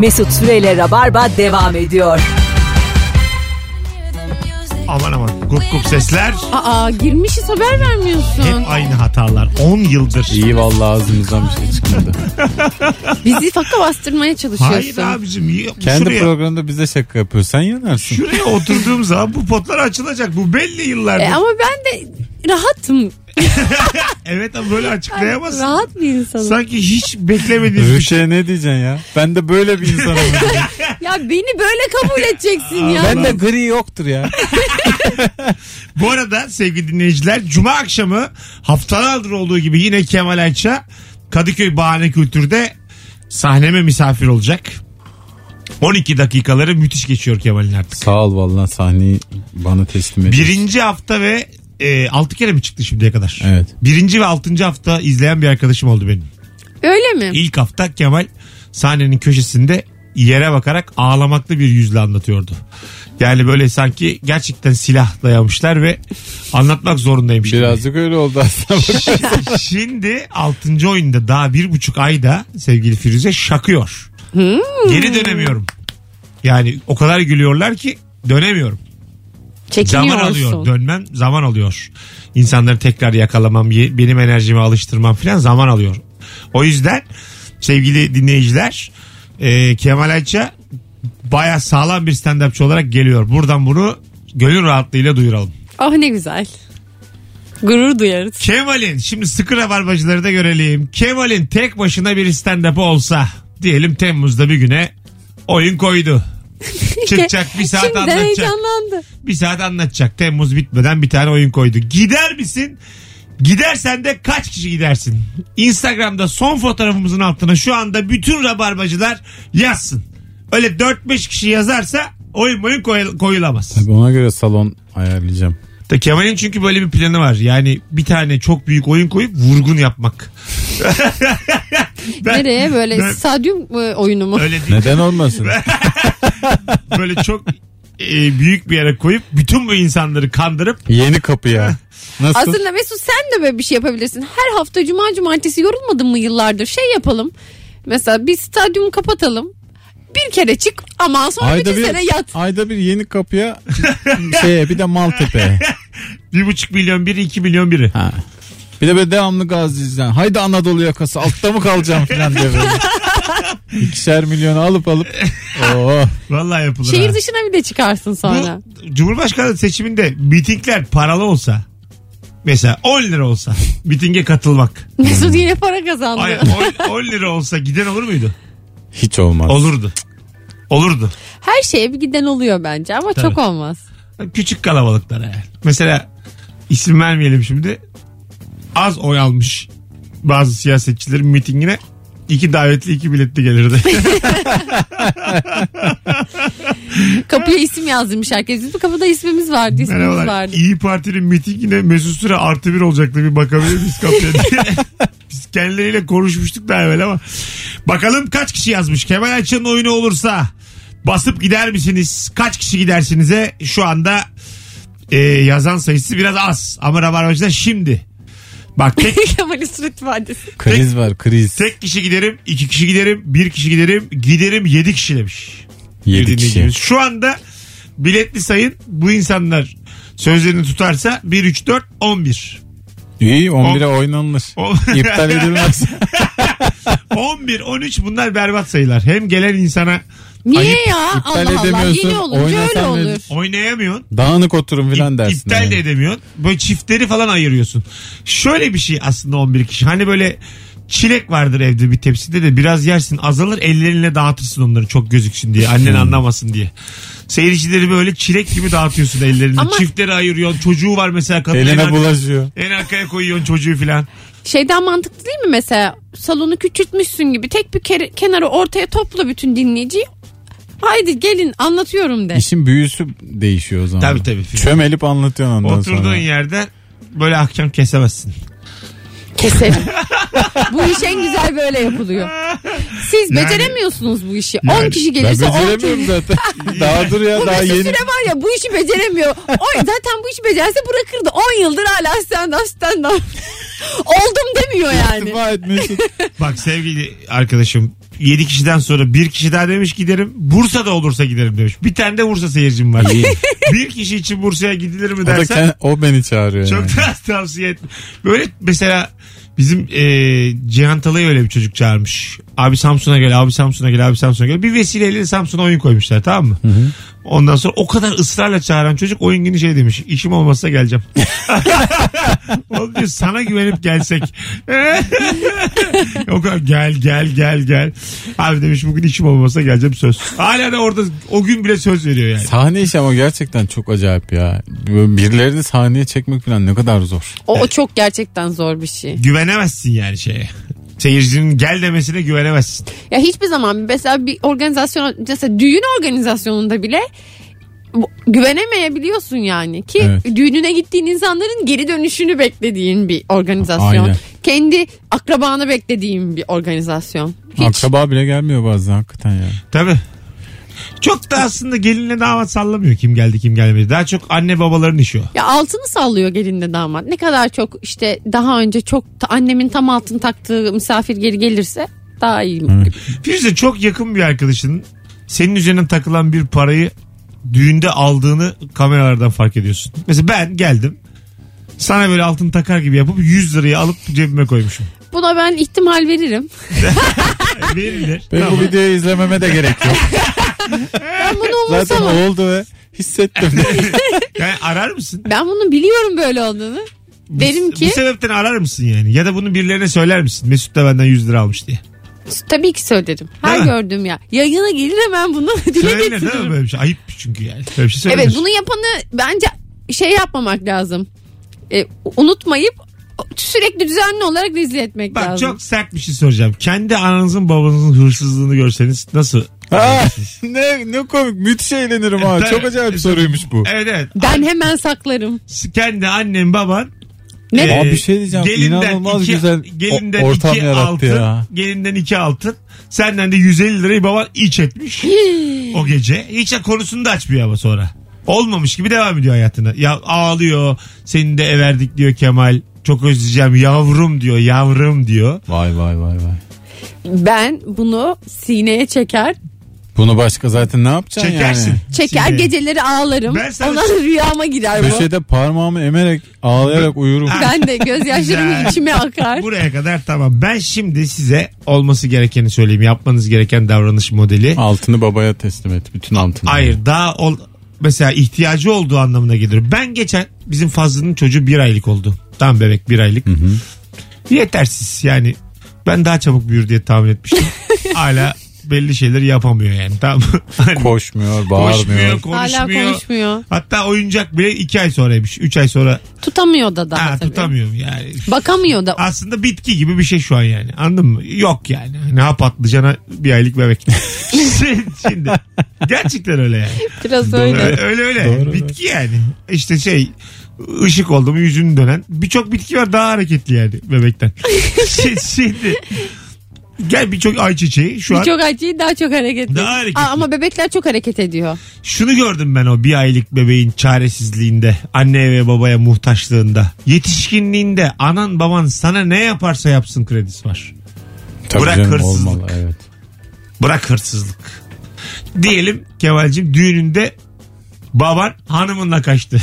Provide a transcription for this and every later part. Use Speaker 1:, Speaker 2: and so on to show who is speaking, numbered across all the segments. Speaker 1: Mesut Süreyle Rabarba devam ediyor.
Speaker 2: Aman aman gup gup sesler
Speaker 3: Aa girmişiz haber vermiyorsun.
Speaker 2: hep aynı hatalar 10 yıldır.
Speaker 4: İyi vallahi ağzımızdan bir şey çıkmadı.
Speaker 3: Bizi faka bastırmaya
Speaker 2: Hayır
Speaker 3: çalışıyorsun.
Speaker 2: abicim iyi.
Speaker 4: Kendi
Speaker 2: şuraya,
Speaker 4: programında bize şaka yapıyor. Sen yanarsın.
Speaker 2: şuraya oturduğum zaman bu potlar açılacak bu belli yıllardır.
Speaker 3: E, ama ben de rahatım.
Speaker 2: Evet ama böyle açıklayamazsın.
Speaker 3: Rahat bir insanım.
Speaker 2: Sanki hiç beklemediğim bir şey.
Speaker 4: Rüşe ne diyeceksin ya? Ben de böyle bir insanım.
Speaker 3: Ya beni böyle kabul edeceksin ya.
Speaker 4: ben de gri yoktur ya.
Speaker 2: Bu arada sevgili dinleyiciler Cuma akşamı haftalardır olduğu gibi yine Kemal Ayça Kadıköy Bahane Kültür'de sahneme misafir olacak. 12 dakikaları müthiş geçiyor Kemal'in artık.
Speaker 4: Sağ ol vallahi sahneyi bana teslim et.
Speaker 2: Birinci hafta ve e, 6 kere mi çıktı şimdiye kadar?
Speaker 4: Evet.
Speaker 2: Birinci ve altıncı hafta izleyen bir arkadaşım oldu benim.
Speaker 3: Öyle mi?
Speaker 2: İlk hafta Kemal sahnenin köşesinde yere bakarak ağlamaklı bir yüzle anlatıyordu. Yani böyle sanki gerçekten silah dayamışlar ve anlatmak zorundaymış. gibi.
Speaker 4: Birazcık öyle oldu aslında.
Speaker 2: Şimdi 6. oyunda daha bir buçuk ayda sevgili Firuze şakıyor. Geri dönemiyorum. Yani o kadar gülüyorlar ki dönemiyorum. Zaman alıyor.
Speaker 3: Çekiniyorsun.
Speaker 2: Dönmem zaman alıyor. İnsanları tekrar yakalamam, ye- benim enerjimi alıştırmam falan zaman alıyor. O yüzden sevgili dinleyiciler e, Kemal Ayça baya sağlam bir stand-upçı olarak geliyor. Buradan bunu gönül rahatlığıyla duyuralım.
Speaker 3: Ah ne güzel. Gurur duyarız.
Speaker 2: Kemal'in şimdi sıkı rabarbacıları da görelim. Kemal'in tek başına bir stand-up'ı olsa diyelim Temmuz'da bir güne oyun koydu. Çıkacak bir saat
Speaker 3: Şimdi de
Speaker 2: anlatacak.
Speaker 3: heyecanlandı.
Speaker 2: Bir saat anlatacak. Temmuz bitmeden bir tane oyun koydu. Gider misin? Gidersen de kaç kişi gidersin? Instagram'da son fotoğrafımızın altına şu anda bütün rabarbacılar yazsın. Öyle 4-5 kişi yazarsa oyun oyun koy- koyulamaz.
Speaker 4: Tabii ona göre salon ayarlayacağım.
Speaker 2: Ta Kemal'in çünkü böyle bir planı var. Yani bir tane çok büyük oyun koyup vurgun yapmak. Ben-
Speaker 3: Nereye böyle
Speaker 2: ben-
Speaker 3: stadyum e, oyunu mu?
Speaker 2: Öyle değil.
Speaker 4: Neden olmasın?
Speaker 2: Böyle çok e, büyük bir yere koyup bütün bu insanları kandırıp
Speaker 4: Yeni kapıya. Nasıl?
Speaker 3: Aslında Mesut sen de böyle bir şey yapabilirsin. Her hafta cuma cumartesi yorulmadın mı yıllardır? Şey yapalım. Mesela bir stadyumu kapatalım. Bir kere çık ama sonra
Speaker 4: Ayda
Speaker 3: bütün
Speaker 4: bir,
Speaker 3: sene yat.
Speaker 4: ayda bir yeni kapıya şeye bir de Maltepe'ye.
Speaker 2: 1,5 milyon biri 2 milyon biri.
Speaker 4: Ha. Bir de böyle devamlı gaz izlen. Haydi Anadolu yakası altta mı kalacağım falan diye böyle. İkişer milyonu alıp alıp. Oo.
Speaker 2: Vallahi yapılır.
Speaker 3: Şehir
Speaker 2: ha.
Speaker 3: dışına bir de çıkarsın sonra.
Speaker 2: Bu Cumhurbaşkanlığı seçiminde mitingler paralı olsa mesela 10 lira olsa mitinge katılmak.
Speaker 3: Mesut yine para kazandı.
Speaker 2: Ay, 10, 10 lira olsa giden olur muydu?
Speaker 4: Hiç olmaz.
Speaker 2: Olurdu. Olurdu.
Speaker 3: Her şeye bir giden oluyor bence ama
Speaker 2: Tabii.
Speaker 3: çok olmaz.
Speaker 2: Küçük kalabalıklara yani. Mesela isim vermeyelim şimdi. Az oy almış bazı siyasetçilerin mitingine iki davetli iki biletli gelirdi.
Speaker 3: Kapıya isim yazdırmış herkes. Bizim kapıda ismimiz vardı, ismimiz
Speaker 2: Merhabalar.
Speaker 3: vardı.
Speaker 2: İyi Parti'nin mitingine Mesut Süre artı bir olacaktı bir bakabilir miyiz kapıya diye. Biz kendileriyle konuşmuştuk daha evvel ama. Bakalım kaç kişi yazmış. Kemal Ayça'nın oyunu olursa basıp gider misiniz? Kaç kişi gidersinize? Şu anda e, yazan sayısı biraz az. Ama Rabarbacı'da şimdi. Bak tek
Speaker 3: Kemal'in surat ifadesi.
Speaker 4: Kriz var kriz.
Speaker 2: Tek kişi giderim, iki kişi giderim, bir kişi giderim, giderim yedi kişi demiş.
Speaker 4: Yedi kişi.
Speaker 2: Dinleyicimiz. Şu anda biletli sayın bu insanlar sözlerini tutarsa 1, 3, 4, 11.
Speaker 4: İyi 11'e oynanılır.
Speaker 2: On-
Speaker 4: İptal edilmez.
Speaker 2: 11, 13 bunlar berbat sayılar. Hem gelen insana
Speaker 3: Niye
Speaker 2: Ayıp,
Speaker 3: ya?
Speaker 4: iptal
Speaker 3: Allah Allah.
Speaker 4: edemiyorsun.
Speaker 3: Yeni olunca öyle
Speaker 4: Oynasan ne-
Speaker 3: olur.
Speaker 2: oynayamıyorsun.
Speaker 4: Dağınık oturun
Speaker 2: ip-
Speaker 4: falan dersin.
Speaker 2: iptal de
Speaker 4: yani.
Speaker 2: edemiyorsun. Böyle çiftleri falan ayırıyorsun. Şöyle bir şey aslında 11 kişi. Hani böyle çilek vardır evde bir tepside de biraz yersin azalır ellerinle dağıtırsın onları çok gözüksün diye
Speaker 4: Hmm.
Speaker 2: annen anlamasın diye. Seyircileri böyle çilek gibi dağıtıyorsun ellerinle.
Speaker 3: Ama-
Speaker 2: Çiftleri ayırıyorsun. Çocuğu var mesela kadın. en,
Speaker 4: Eline
Speaker 2: ar-
Speaker 4: bulaşıyor.
Speaker 2: en arkaya koyuyorsun çocuğu filan.
Speaker 3: Şeyden mantıklı değil mi mesela salonu küçültmüşsün gibi tek bir kere, kenara ortaya topla bütün dinleyiciyi. Haydi gelin anlatıyorum de.
Speaker 4: İşin büyüsü değişiyor o zaman.
Speaker 2: Tabii, tabii.
Speaker 4: Çömelip anlatıyorsun ondan
Speaker 2: Oturduğun
Speaker 4: sonra.
Speaker 2: yerde böyle ahkam kesemezsin.
Speaker 3: Keselim. bu iş en güzel böyle yapılıyor. Siz
Speaker 2: Yani-
Speaker 3: beceremiyorsunuz bu işi.
Speaker 2: Yani
Speaker 3: 10 kişi
Speaker 4: Ben
Speaker 3: gelirse 10 kişi.
Speaker 4: beceremiyorum zaten. daha dur ya
Speaker 3: Bu
Speaker 4: daha
Speaker 3: Mesut
Speaker 4: yeni.
Speaker 3: Süre var ya bu işi beceremiyor. O zaten bu işi becerse bırakırdı. 10 yıldır hala stand up stand up. Oldum demiyor yani.
Speaker 4: İstifa et Mesut.
Speaker 2: Bak sevgili arkadaşım 7 kişiden sonra bir kişi daha demiş giderim. Bursa'da olursa giderim demiş. Bir tane de Bursa seyircim var. bir kişi için Bursa'ya gidilir mi
Speaker 4: O, da
Speaker 2: dersen
Speaker 4: kend- o beni çağırıyor. yani.
Speaker 2: çok da tavsiye etmem. Böyle mesela bizim e, Cihan Talay'ı öyle bir çocuk çağırmış. Abi Samsun'a gel, abi Samsun'a gel, abi Samsun'a gel. Bir vesileyle Samsun'a oyun koymuşlar tamam mı? Ondan sonra o kadar ısrarla çağıran çocuk oyun günü şey demiş. İşim olmazsa geleceğim. Oğlum diyor sana güvenip gelsek. o kadar gel gel gel gel. Abi demiş bugün işim olmazsa geleceğim söz. Hala da orada o gün bile söz veriyor yani.
Speaker 4: Sahne işi ama gerçekten çok acayip ya. Böyle Birilerini sahneye çekmek falan ne kadar zor.
Speaker 3: O, o çok gerçekten zor bir şey.
Speaker 2: güvenemezsin yani şeye. Seyircinin gel demesine güvenemezsin.
Speaker 3: Ya hiçbir zaman mesela bir organizasyon mesela düğün organizasyonunda bile bu- güvenemeyebiliyorsun yani ki
Speaker 4: Evet.
Speaker 3: düğününe gittiğin insanların geri dönüşünü beklediğin bir organizasyon.
Speaker 4: Aynen.
Speaker 3: Kendi akrabanı beklediğin bir organizasyon. Hiç.
Speaker 4: Akraba bile gelmiyor bazen hakikaten ya.
Speaker 2: Tabii. Çok da aslında gelinle damat sallamıyor kim geldi kim gelmedi. Daha çok anne babaların işi o.
Speaker 3: Ya altını sallıyor gelinle damat. Ne kadar çok işte daha önce çok ta- annemin tam altın taktığı misafir geri gelirse daha iyi.
Speaker 2: Firuze çok yakın bir arkadaşının senin üzerine takılan bir parayı düğünde aldığını kameralardan fark ediyorsun. Mesela ben geldim. Sana böyle altın takar gibi yapıp 100 lirayı alıp cebime koymuşum. E,
Speaker 3: Buna ben ihtimal veririm.
Speaker 2: Verilir.
Speaker 4: Benim bu videoyu izlememe de gerek yok.
Speaker 3: Ben bunu
Speaker 4: Zaten
Speaker 3: umursamam.
Speaker 4: oldu ve hissettim.
Speaker 2: Yani arar mısın?
Speaker 3: Ben bunu biliyorum böyle olduğunu. Derim
Speaker 2: Bu-
Speaker 3: ki
Speaker 2: Bu sebepten arar mısın yani? Ya da bunu birilerine söyler misin? Mesut da benden 100 lira almış diye.
Speaker 3: tabii ki söylerim. Her
Speaker 2: Değil mi?
Speaker 3: gördüğüm ya. Yayına gelir hemen bunu dile
Speaker 2: Söylenir değil mi
Speaker 3: getiririm.
Speaker 2: böyle bir şey? Ayıp çünkü yani. Böyle bir şey söylenir.
Speaker 3: Evet bunu yapanı bence şey yapmamak lazım. E, unutmayıp sürekli düzenli olarak rezil etmek
Speaker 2: Bak
Speaker 3: lazım.
Speaker 2: çok sert bir şey soracağım. Kendi ananızın babanızın hırsızlığını görseniz nasıl?
Speaker 4: Ha, ne, ne komik müthiş eğlenirim ha.
Speaker 2: Tabii.
Speaker 4: Çok acayip soruymuş bu.
Speaker 2: Evet evet.
Speaker 3: Ben hemen saklarım.
Speaker 2: Kendi annen baban. e,
Speaker 3: Ne?
Speaker 2: Ee?
Speaker 4: Abi bir şey diyeceğim. İnanılmaz
Speaker 2: iki,
Speaker 4: güzel
Speaker 2: gelinden
Speaker 4: o- ortam
Speaker 2: iki
Speaker 4: yarattı
Speaker 2: altın,
Speaker 4: ya.
Speaker 2: Gelinden iki altın. Senden de 150 lirayı baban iç etmiş. o gece. Hiç de konusunu da açmıyor ama sonra. Olmamış gibi devam ediyor hayatına. Ya ağlıyor. Seni de everdik diyor Kemal. Çok özleyeceğim yavrum diyor yavrum diyor.
Speaker 4: Vay vay vay vay.
Speaker 3: Ben bunu sineye çeker.
Speaker 4: Bunu başka zaten ne yapacaksın
Speaker 2: Çekersin.
Speaker 4: yani?
Speaker 3: Çeker
Speaker 2: Şimdi-
Speaker 3: geceleri ağlarım.
Speaker 2: Ben sana- şey
Speaker 3: Ondan rüyama girer bu.
Speaker 4: Köşede parmağımı emerek ağlayarak uyurum.
Speaker 3: Ben de gözyaşlarım
Speaker 2: Güzel.
Speaker 3: içime akar.
Speaker 2: Buraya kadar tamam. Ben şimdi size olması gerekeni söyleyeyim. Yapmanız gereken davranış modeli.
Speaker 4: Altını babaya teslim et. Bütün altını.
Speaker 2: Hayır daha ol, mesela ihtiyacı olduğu anlamına gelir. Ben geçen bizim Fazlı'nın çocuğu bir aylık oldu. Tam bebek bir aylık. Yetersiz yani. Ben daha çabuk büyür diye tahmin etmiştim. Hala belli şeyleri yapamıyor yani. Tamam. mı? Hani
Speaker 4: Koşmuyor,
Speaker 2: Koşmuyor,
Speaker 4: bağırmıyor.
Speaker 3: Hala
Speaker 2: konuşmuyor.
Speaker 3: konuşmuyor.
Speaker 2: Hatta oyuncak bile iki ay sonraymış. Üç ay sonra
Speaker 3: Tutamıyor da daha
Speaker 2: ha,
Speaker 3: tabii.
Speaker 2: tutamıyorum yani.
Speaker 3: Bakamıyor da.
Speaker 2: aslında bitki gibi bir şey şu an yani. Anladın mı? Yok yani. Ne yap atlayacağına bir aylık bebek. Şimdi- Şimdi. Gerçekten öyle yani.
Speaker 3: Biraz
Speaker 2: Öyle
Speaker 3: öyle.
Speaker 2: öyle. öyle.
Speaker 4: Doğru,
Speaker 2: bitki yani. İşte şey ışık oldu mu yüzünü dönen. Birçok bitki var daha hareketli yani bebekten. Şimdi- Şimdi. Gel birçok ayçiçeği şu an.
Speaker 3: Çok acı daha çok hareketli.
Speaker 2: Daha hareketli.
Speaker 3: Aa, ama bebekler çok hareket ediyor.
Speaker 2: Şunu gördüm ben o bir aylık bebeğin çaresizliğinde, anne ve babaya muhtaçlığında, yetişkinliğinde anan baban sana ne yaparsa yapsın kredisi var.
Speaker 4: Tabii
Speaker 2: Bırak
Speaker 4: canım,
Speaker 2: hırsızlık.
Speaker 4: olmalı evet.
Speaker 2: Bırak hırsızlık. Diyelim Kemal'cim düğününde baban hanımınla kaçtı.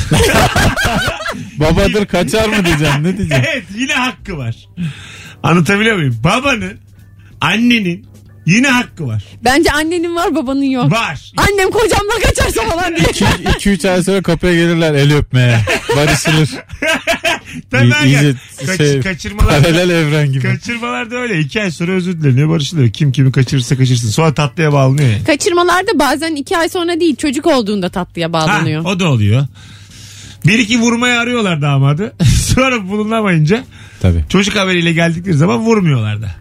Speaker 4: Babadır kaçar mı diyeceğim ne diyeceğim?
Speaker 2: evet yine hakkı var. Anlatabiliyor muyum? Babanın, annenin yine hakkı var.
Speaker 3: Bence annenin var babanın yok.
Speaker 2: Var.
Speaker 3: Annem kocamla kaçarsa falan diye.
Speaker 4: 2-3 ay sonra kapıya gelirler el öpmeye. Barışılır.
Speaker 2: Tabii ben
Speaker 4: İyice
Speaker 2: Kaç-
Speaker 4: şey,
Speaker 2: kaçırmalar.
Speaker 4: paralel evren gibi.
Speaker 2: Kaçırmalar da öyle. İki ay sonra özür dileniyor, barışılıyor. Kim kimi kaçırırsa kaçırsın. Sonra tatlıya bağlanıyor yani.
Speaker 3: Kaçırmalarda bazen iki ay sonra değil çocuk olduğunda tatlıya
Speaker 2: Ha,
Speaker 3: bağlanıyor.
Speaker 2: o da oluyor. Bir iki vurmaya arıyorlar damadı. sonra bulunamayınca
Speaker 4: Tabii.
Speaker 2: çocuk haberiyle geldikleri zaman vurmuyorlar da.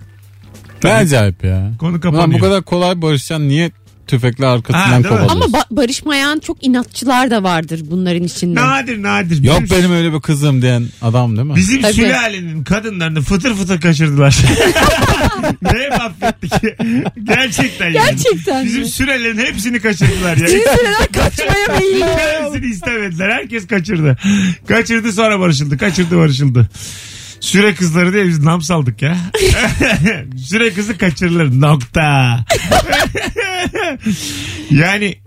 Speaker 4: Ne acayip ya.
Speaker 2: Konu
Speaker 4: Ulan
Speaker 2: kapanıyor.
Speaker 4: bu kadar kolay barışan niye tüfekle
Speaker 2: Ha,
Speaker 4: arkasından
Speaker 2: değil mi?
Speaker 4: kovalıyorsun?
Speaker 3: Ama ba- barışmayan çok inatçılar da vardır bunların içinde.
Speaker 2: Nadir nadir.
Speaker 4: Yok
Speaker 2: Bizim-
Speaker 4: benim öyle bir kızım diyen adam değil mi?
Speaker 2: Bizim
Speaker 3: Tabii.
Speaker 2: sülalenin kadınlarını fıtır fıtır kaçırdılar. ne mahvettik. Gerçekten yani.
Speaker 3: Gerçekten
Speaker 2: Bizim
Speaker 3: mi?
Speaker 2: sülalenin hepsini kaçırdılar yani.
Speaker 3: Cinsinden kaçmaya meyilli.
Speaker 2: Hepsini istemediler. Herkes kaçırdı. Kaçırdı sonra barışıldı. Kaçırdı barışıldı. Süre kızları diye biz nam saldık ya. Süre kızı kaçırılır nokta. yani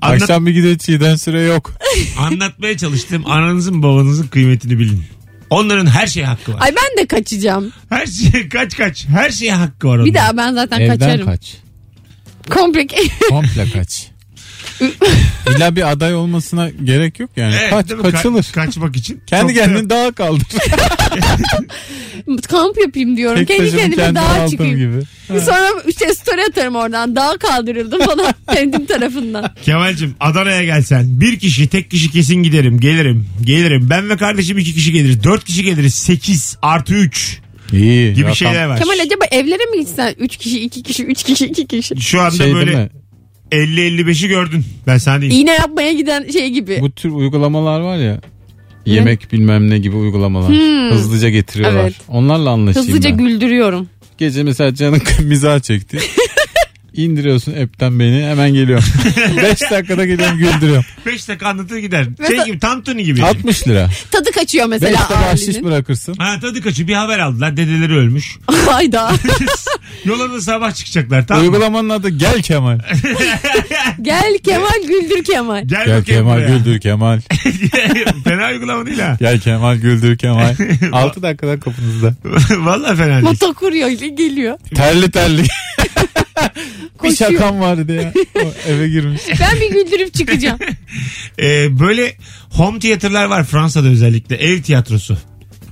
Speaker 2: anlat-
Speaker 4: Akşam bir gidiyor çiğden süre yok.
Speaker 2: anlatmaya çalıştım. Ananızın babanızın kıymetini bilin. Onların her şeye hakkı var.
Speaker 3: Ay ben de kaçacağım.
Speaker 2: Her şeye kaç kaç. Her şeye hakkı var onların.
Speaker 3: Bir daha ben zaten
Speaker 4: Evden
Speaker 3: kaçarım.
Speaker 4: kaç.
Speaker 3: Komple
Speaker 4: Komple kaç. İlla bir aday olmasına gerek yok yani.
Speaker 2: Evet,
Speaker 4: kaç
Speaker 2: değil mi? Ka-
Speaker 4: kaçılır.
Speaker 2: kaçmak için.
Speaker 4: Kendi
Speaker 2: Çok da-
Speaker 4: kendini dağa kaldır.
Speaker 3: kamp yapayım diyorum.
Speaker 4: Tek
Speaker 3: kendi
Speaker 4: başıma
Speaker 3: kendime
Speaker 4: kendimi
Speaker 3: dağa
Speaker 4: aldım
Speaker 3: çıkayım.
Speaker 4: gibi.
Speaker 3: Sonra işte story atarım oradan. Dağa kaldırırdım falan kendim tarafından.
Speaker 2: Kemal'cim Adana'ya gelsen bir kişi tek kişi kesin giderim gelirim gelirim. Ben ve kardeşim iki kişi geliriz. Dört kişi geliriz. Sekiz artı üç
Speaker 4: İyi.
Speaker 2: gibi
Speaker 4: rakam-
Speaker 2: şeyler var.
Speaker 3: Kemal acaba evlere mi gitsen? 3 kişi, 2 kişi, 3 kişi, 2 kişi.
Speaker 2: Şu anda
Speaker 4: Şey değil
Speaker 2: böyle
Speaker 4: mi?
Speaker 2: 50-55'i gördün. Ben sana diyeyim.
Speaker 3: İğne yapmaya giden şey gibi.
Speaker 4: Bu tür uygulamalar var ya. Yemek bilmem ne gibi uygulamalar. Hızlıca getiriyorlar.
Speaker 3: Hmm. Evet.
Speaker 4: Onlarla anlaşayım
Speaker 3: Hızlıca
Speaker 4: ben.
Speaker 3: güldürüyorum.
Speaker 4: Gece mesela canın mizah çekti. İndiriyorsun app'ten beni hemen geliyorum. 5 dakikada geliyorum güldürüyorum.
Speaker 2: 5 dakika anlatır gider.
Speaker 3: Mesela-
Speaker 2: Şey gibi tantuni gibi.
Speaker 4: 60 lira.
Speaker 3: Tadı kaçıyor
Speaker 4: 5
Speaker 3: mesela
Speaker 4: de bahşiş
Speaker 3: ailenin.
Speaker 4: bırakırsın.
Speaker 2: Ha tadı kaçı bir haber aldılar dedeleri ölmüş.
Speaker 3: Hayda.
Speaker 2: Yola da sabah çıkacaklar tamam mı?
Speaker 4: Uygulamanın adı Gel Kemal.
Speaker 3: Gel Kemal güldür Kemal.
Speaker 2: Gel,
Speaker 4: Gel
Speaker 2: bakayım
Speaker 4: Kemal
Speaker 2: buraya.
Speaker 4: güldür Kemal.
Speaker 2: fena uygulama değil ha.
Speaker 4: Gel Kemal güldür Kemal. 6 dakikada kapınızda.
Speaker 2: Valla fena değil.
Speaker 3: Moto kuruyor geliyor.
Speaker 4: Terli terli. bir
Speaker 3: Koşuyor.
Speaker 4: şakam vardı ya. O eve girmiş.
Speaker 3: Ben bir güldürüp çıkacağım.
Speaker 2: Ee, böyle home tiyatrolar var Fransa'da özellikle. Ev tiyatrosu.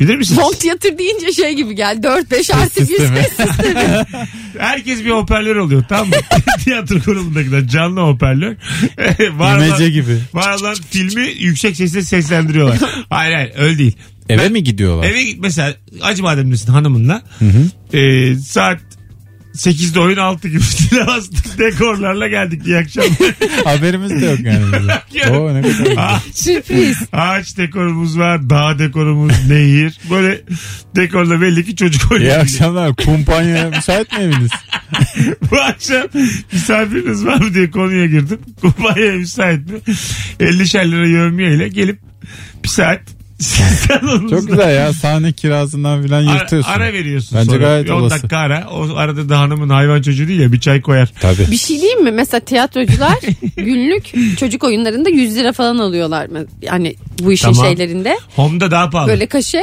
Speaker 2: Bilir misiniz?
Speaker 3: Home tiyatro deyince şey gibi gel. 4-5 artı bir
Speaker 4: sistemi.
Speaker 3: ses sistemi.
Speaker 2: Herkes bir hoparlör oluyor tamam mı? Tiyatro kurulundakiler canlı hoparlör. var
Speaker 4: İmece
Speaker 2: olan,
Speaker 4: gibi.
Speaker 2: var olan filmi yüksek sesle seslendiriyorlar. hayır hayır öyle değil.
Speaker 4: Eve mi gidiyorlar?
Speaker 2: Eve git mesela Acıbadem'desin hanımınla. Ee, saat 8'de oyun 6 gibi sinemastik dekorlarla geldik iyi akşamlar.
Speaker 4: Haberimiz de yok yani. bizim. Oo, ne kadar güzel.
Speaker 2: Ağaç,
Speaker 3: Sürpriz.
Speaker 2: ağaç dekorumuz var, dağ dekorumuz, nehir. Böyle dekorla belli ki çocuk oynuyor.
Speaker 4: İyi akşamlar. Kumpanya müsait mi eviniz?
Speaker 2: Bu akşam misafiriniz var mı diye konuya girdim. Kumpanya müsait mi? 50'şer lira yövmiye ile gelip bir saat salonunuzda
Speaker 4: Çok güzel ya. Sahne kirasından filan
Speaker 2: Ara,
Speaker 4: yırtıyorsun.
Speaker 2: ara veriyorsun
Speaker 4: Bence
Speaker 2: sonra.
Speaker 4: gayet
Speaker 2: Bir 10
Speaker 4: olası.
Speaker 2: dakika ara. O arada da hanımın hayvan çocuğu değil ya bir çay koyar.
Speaker 4: Tabii.
Speaker 3: Bir şey diyeyim mi? Mesela tiyatrocular günlük çocuk oyunlarında 100 lira falan alıyorlar. mı? Yani bu işin
Speaker 2: Tamam.
Speaker 3: şeylerinde.
Speaker 2: Home'da daha pahalı.
Speaker 3: Böyle kaşe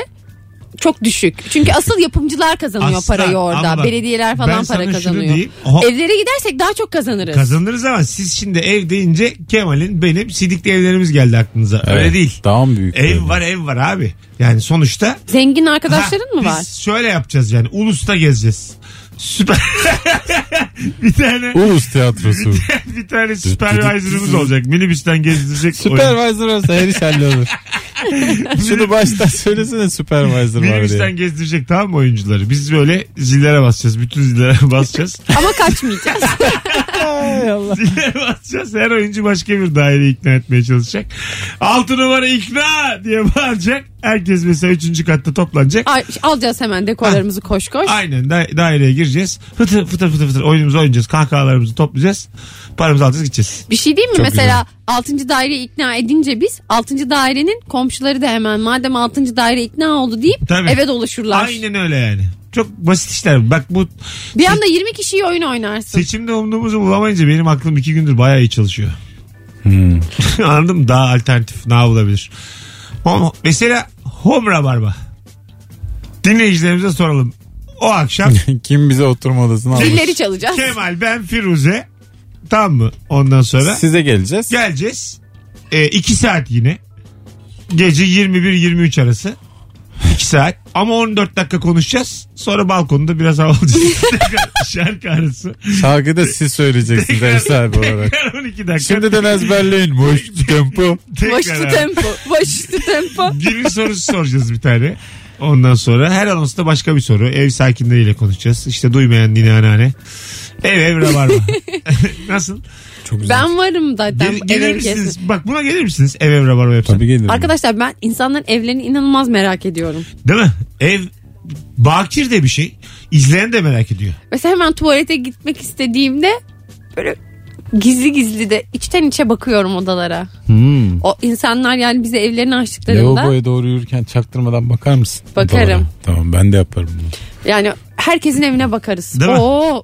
Speaker 3: çok düşük. Çünkü asıl yapımcılar kazanıyor
Speaker 2: Aslan,
Speaker 3: parayı orada.
Speaker 2: ama bak,
Speaker 3: Belediyeler
Speaker 2: ben
Speaker 3: falan
Speaker 2: sana
Speaker 3: para
Speaker 2: şunu
Speaker 3: kazanıyor.
Speaker 2: diyeyim. Ho-
Speaker 3: Evlere gidersek daha çok kazanırız.
Speaker 2: Kazanırız ama siz şimdi ev deyince Kemal'in benim sidikli evlerimiz geldi aklınıza. Öyle
Speaker 4: Evet,
Speaker 2: değil.
Speaker 4: Daha mı büyük? böyle?
Speaker 2: Ev var ev var abi. Yani sonuçta
Speaker 3: Zengin arkadaşların
Speaker 2: Ha,
Speaker 3: mı var?
Speaker 2: Biz şöyle yapacağız yani. Ulus'ta gezeceğiz. Süper. bir tane
Speaker 4: Ulus tiyatrosu.
Speaker 2: bir tane supervisor'ımız olacak. Minibüsten gezdirecek. oyun.
Speaker 4: Supervisor olsa her iş hallolur. Şunu baştan söylesene supervisor var
Speaker 2: Minibüsten
Speaker 4: diye.
Speaker 2: gezdirecek tamam mı oyuncuları? Biz böyle zillere basacağız. Bütün zillere basacağız.
Speaker 3: Ama kaçmayacağız.
Speaker 4: Ay Allah.
Speaker 2: zillere basacağız. Her oyuncu başka bir daire ikna etmeye çalışacak. Altı numara ikna diye bağıracak. Herkes mesela üçüncü katta toplanacak.
Speaker 3: Ay, alacağız hemen dekorlarımızı koş koş.
Speaker 2: Aynen da- daireye gireceğiz. Fıtır fıtır fıtır fıtır oyunumuzu oynayacağız. Kahkahalarımızı toplayacağız. Paramızı alacağız gideceğiz.
Speaker 3: Bir şey diyeyim mi?
Speaker 4: Çok
Speaker 3: Mesela 6. daireyi ikna edince biz 6. dairenin komşuları da hemen madem 6. daire ikna oldu deyip
Speaker 2: Tabii.
Speaker 3: eve doluşurlar.
Speaker 2: Aynen öyle yani. Çok basit işler. Bak bu
Speaker 3: Bir anda 20 kişiyi oyun oynarsın.
Speaker 2: seçimde umduğumuzu bulamayınca benim aklım iki gündür bayağı iyi çalışıyor. Hmm. Anladın mı? Daha alternatif ne olabilir? Home- mesela home rabarba. Dinleyicilerimize soralım. O akşam
Speaker 4: Kim bize oturma odasını almış?
Speaker 3: Zilleri çalacağız.
Speaker 2: Kemal ben Firuze tamam mı? Ondan sonra
Speaker 4: Size geleceğiz.
Speaker 2: geleceğiz. E, iki saat yine. Gece 21-23 arası. 2 saat. Ama 14 dakika konuşacağız. Sonra balkonda biraz hava alacağız. Şarkı arası.
Speaker 4: Şarkıyı da siz söyleyeceksiniz ev sahibi olarak.
Speaker 2: Tekrar 12 dakika.
Speaker 4: Şimdiden ezberleyin. Boş tempo.
Speaker 3: Başüstü
Speaker 2: tekrar.
Speaker 3: tempo. Başüstü tempo.
Speaker 2: Günün sorusu soracağız bir tane. Ondan sonra her anonsta başka bir soru. Ev sakinleriyle konuşacağız. İşte duymayan nine anneanne. Ev ev rabarba. Nasıl?
Speaker 4: Çok güzel.
Speaker 3: Ben varım zaten.
Speaker 2: Gel, gelir
Speaker 3: Evin
Speaker 2: misiniz?
Speaker 3: kesin.
Speaker 2: Bak buna gelir misiniz? Ev ev rabarba yapsam.
Speaker 4: Tabii gelirim.
Speaker 3: Arkadaşlar ben insanların evlerini inanılmaz merak ediyorum.
Speaker 2: Değil mi? Ev bakir de bir şey. İzleyen de merak ediyor.
Speaker 3: Mesela hemen tuvalete gitmek istediğimde böyle gizli gizli de içten içe bakıyorum odalara.
Speaker 4: Hmm.
Speaker 3: O insanlar yani bize evlerini açtıklarında
Speaker 4: Lavaboya doğru yürürken çaktırmadan bakar mısın?
Speaker 3: Bakarım.
Speaker 4: Doğru. Tamam ben de yaparım bunu.
Speaker 3: yani herkesin evine bakarız.
Speaker 2: Değil mi?
Speaker 3: Oo.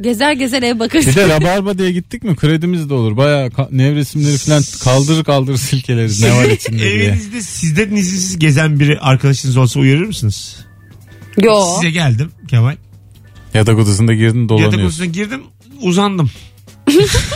Speaker 3: Gezer gezer ev
Speaker 4: Bir
Speaker 3: bakarız.
Speaker 4: de rabarba diye gittik mi kredimiz de olur. Bayağı ka- nevresimleri falan kaldırır kaldırır silkeleriz ne var içinde diye.
Speaker 2: Evinizde sizden izinsiz gezen biri arkadaşınız olsa uyarır mısınız?
Speaker 3: Yo.
Speaker 2: Size geldim Kemal.
Speaker 4: Yatak odasında girdin
Speaker 2: Yatak
Speaker 4: dolanıyorsun.
Speaker 2: odasına girdim uzandım.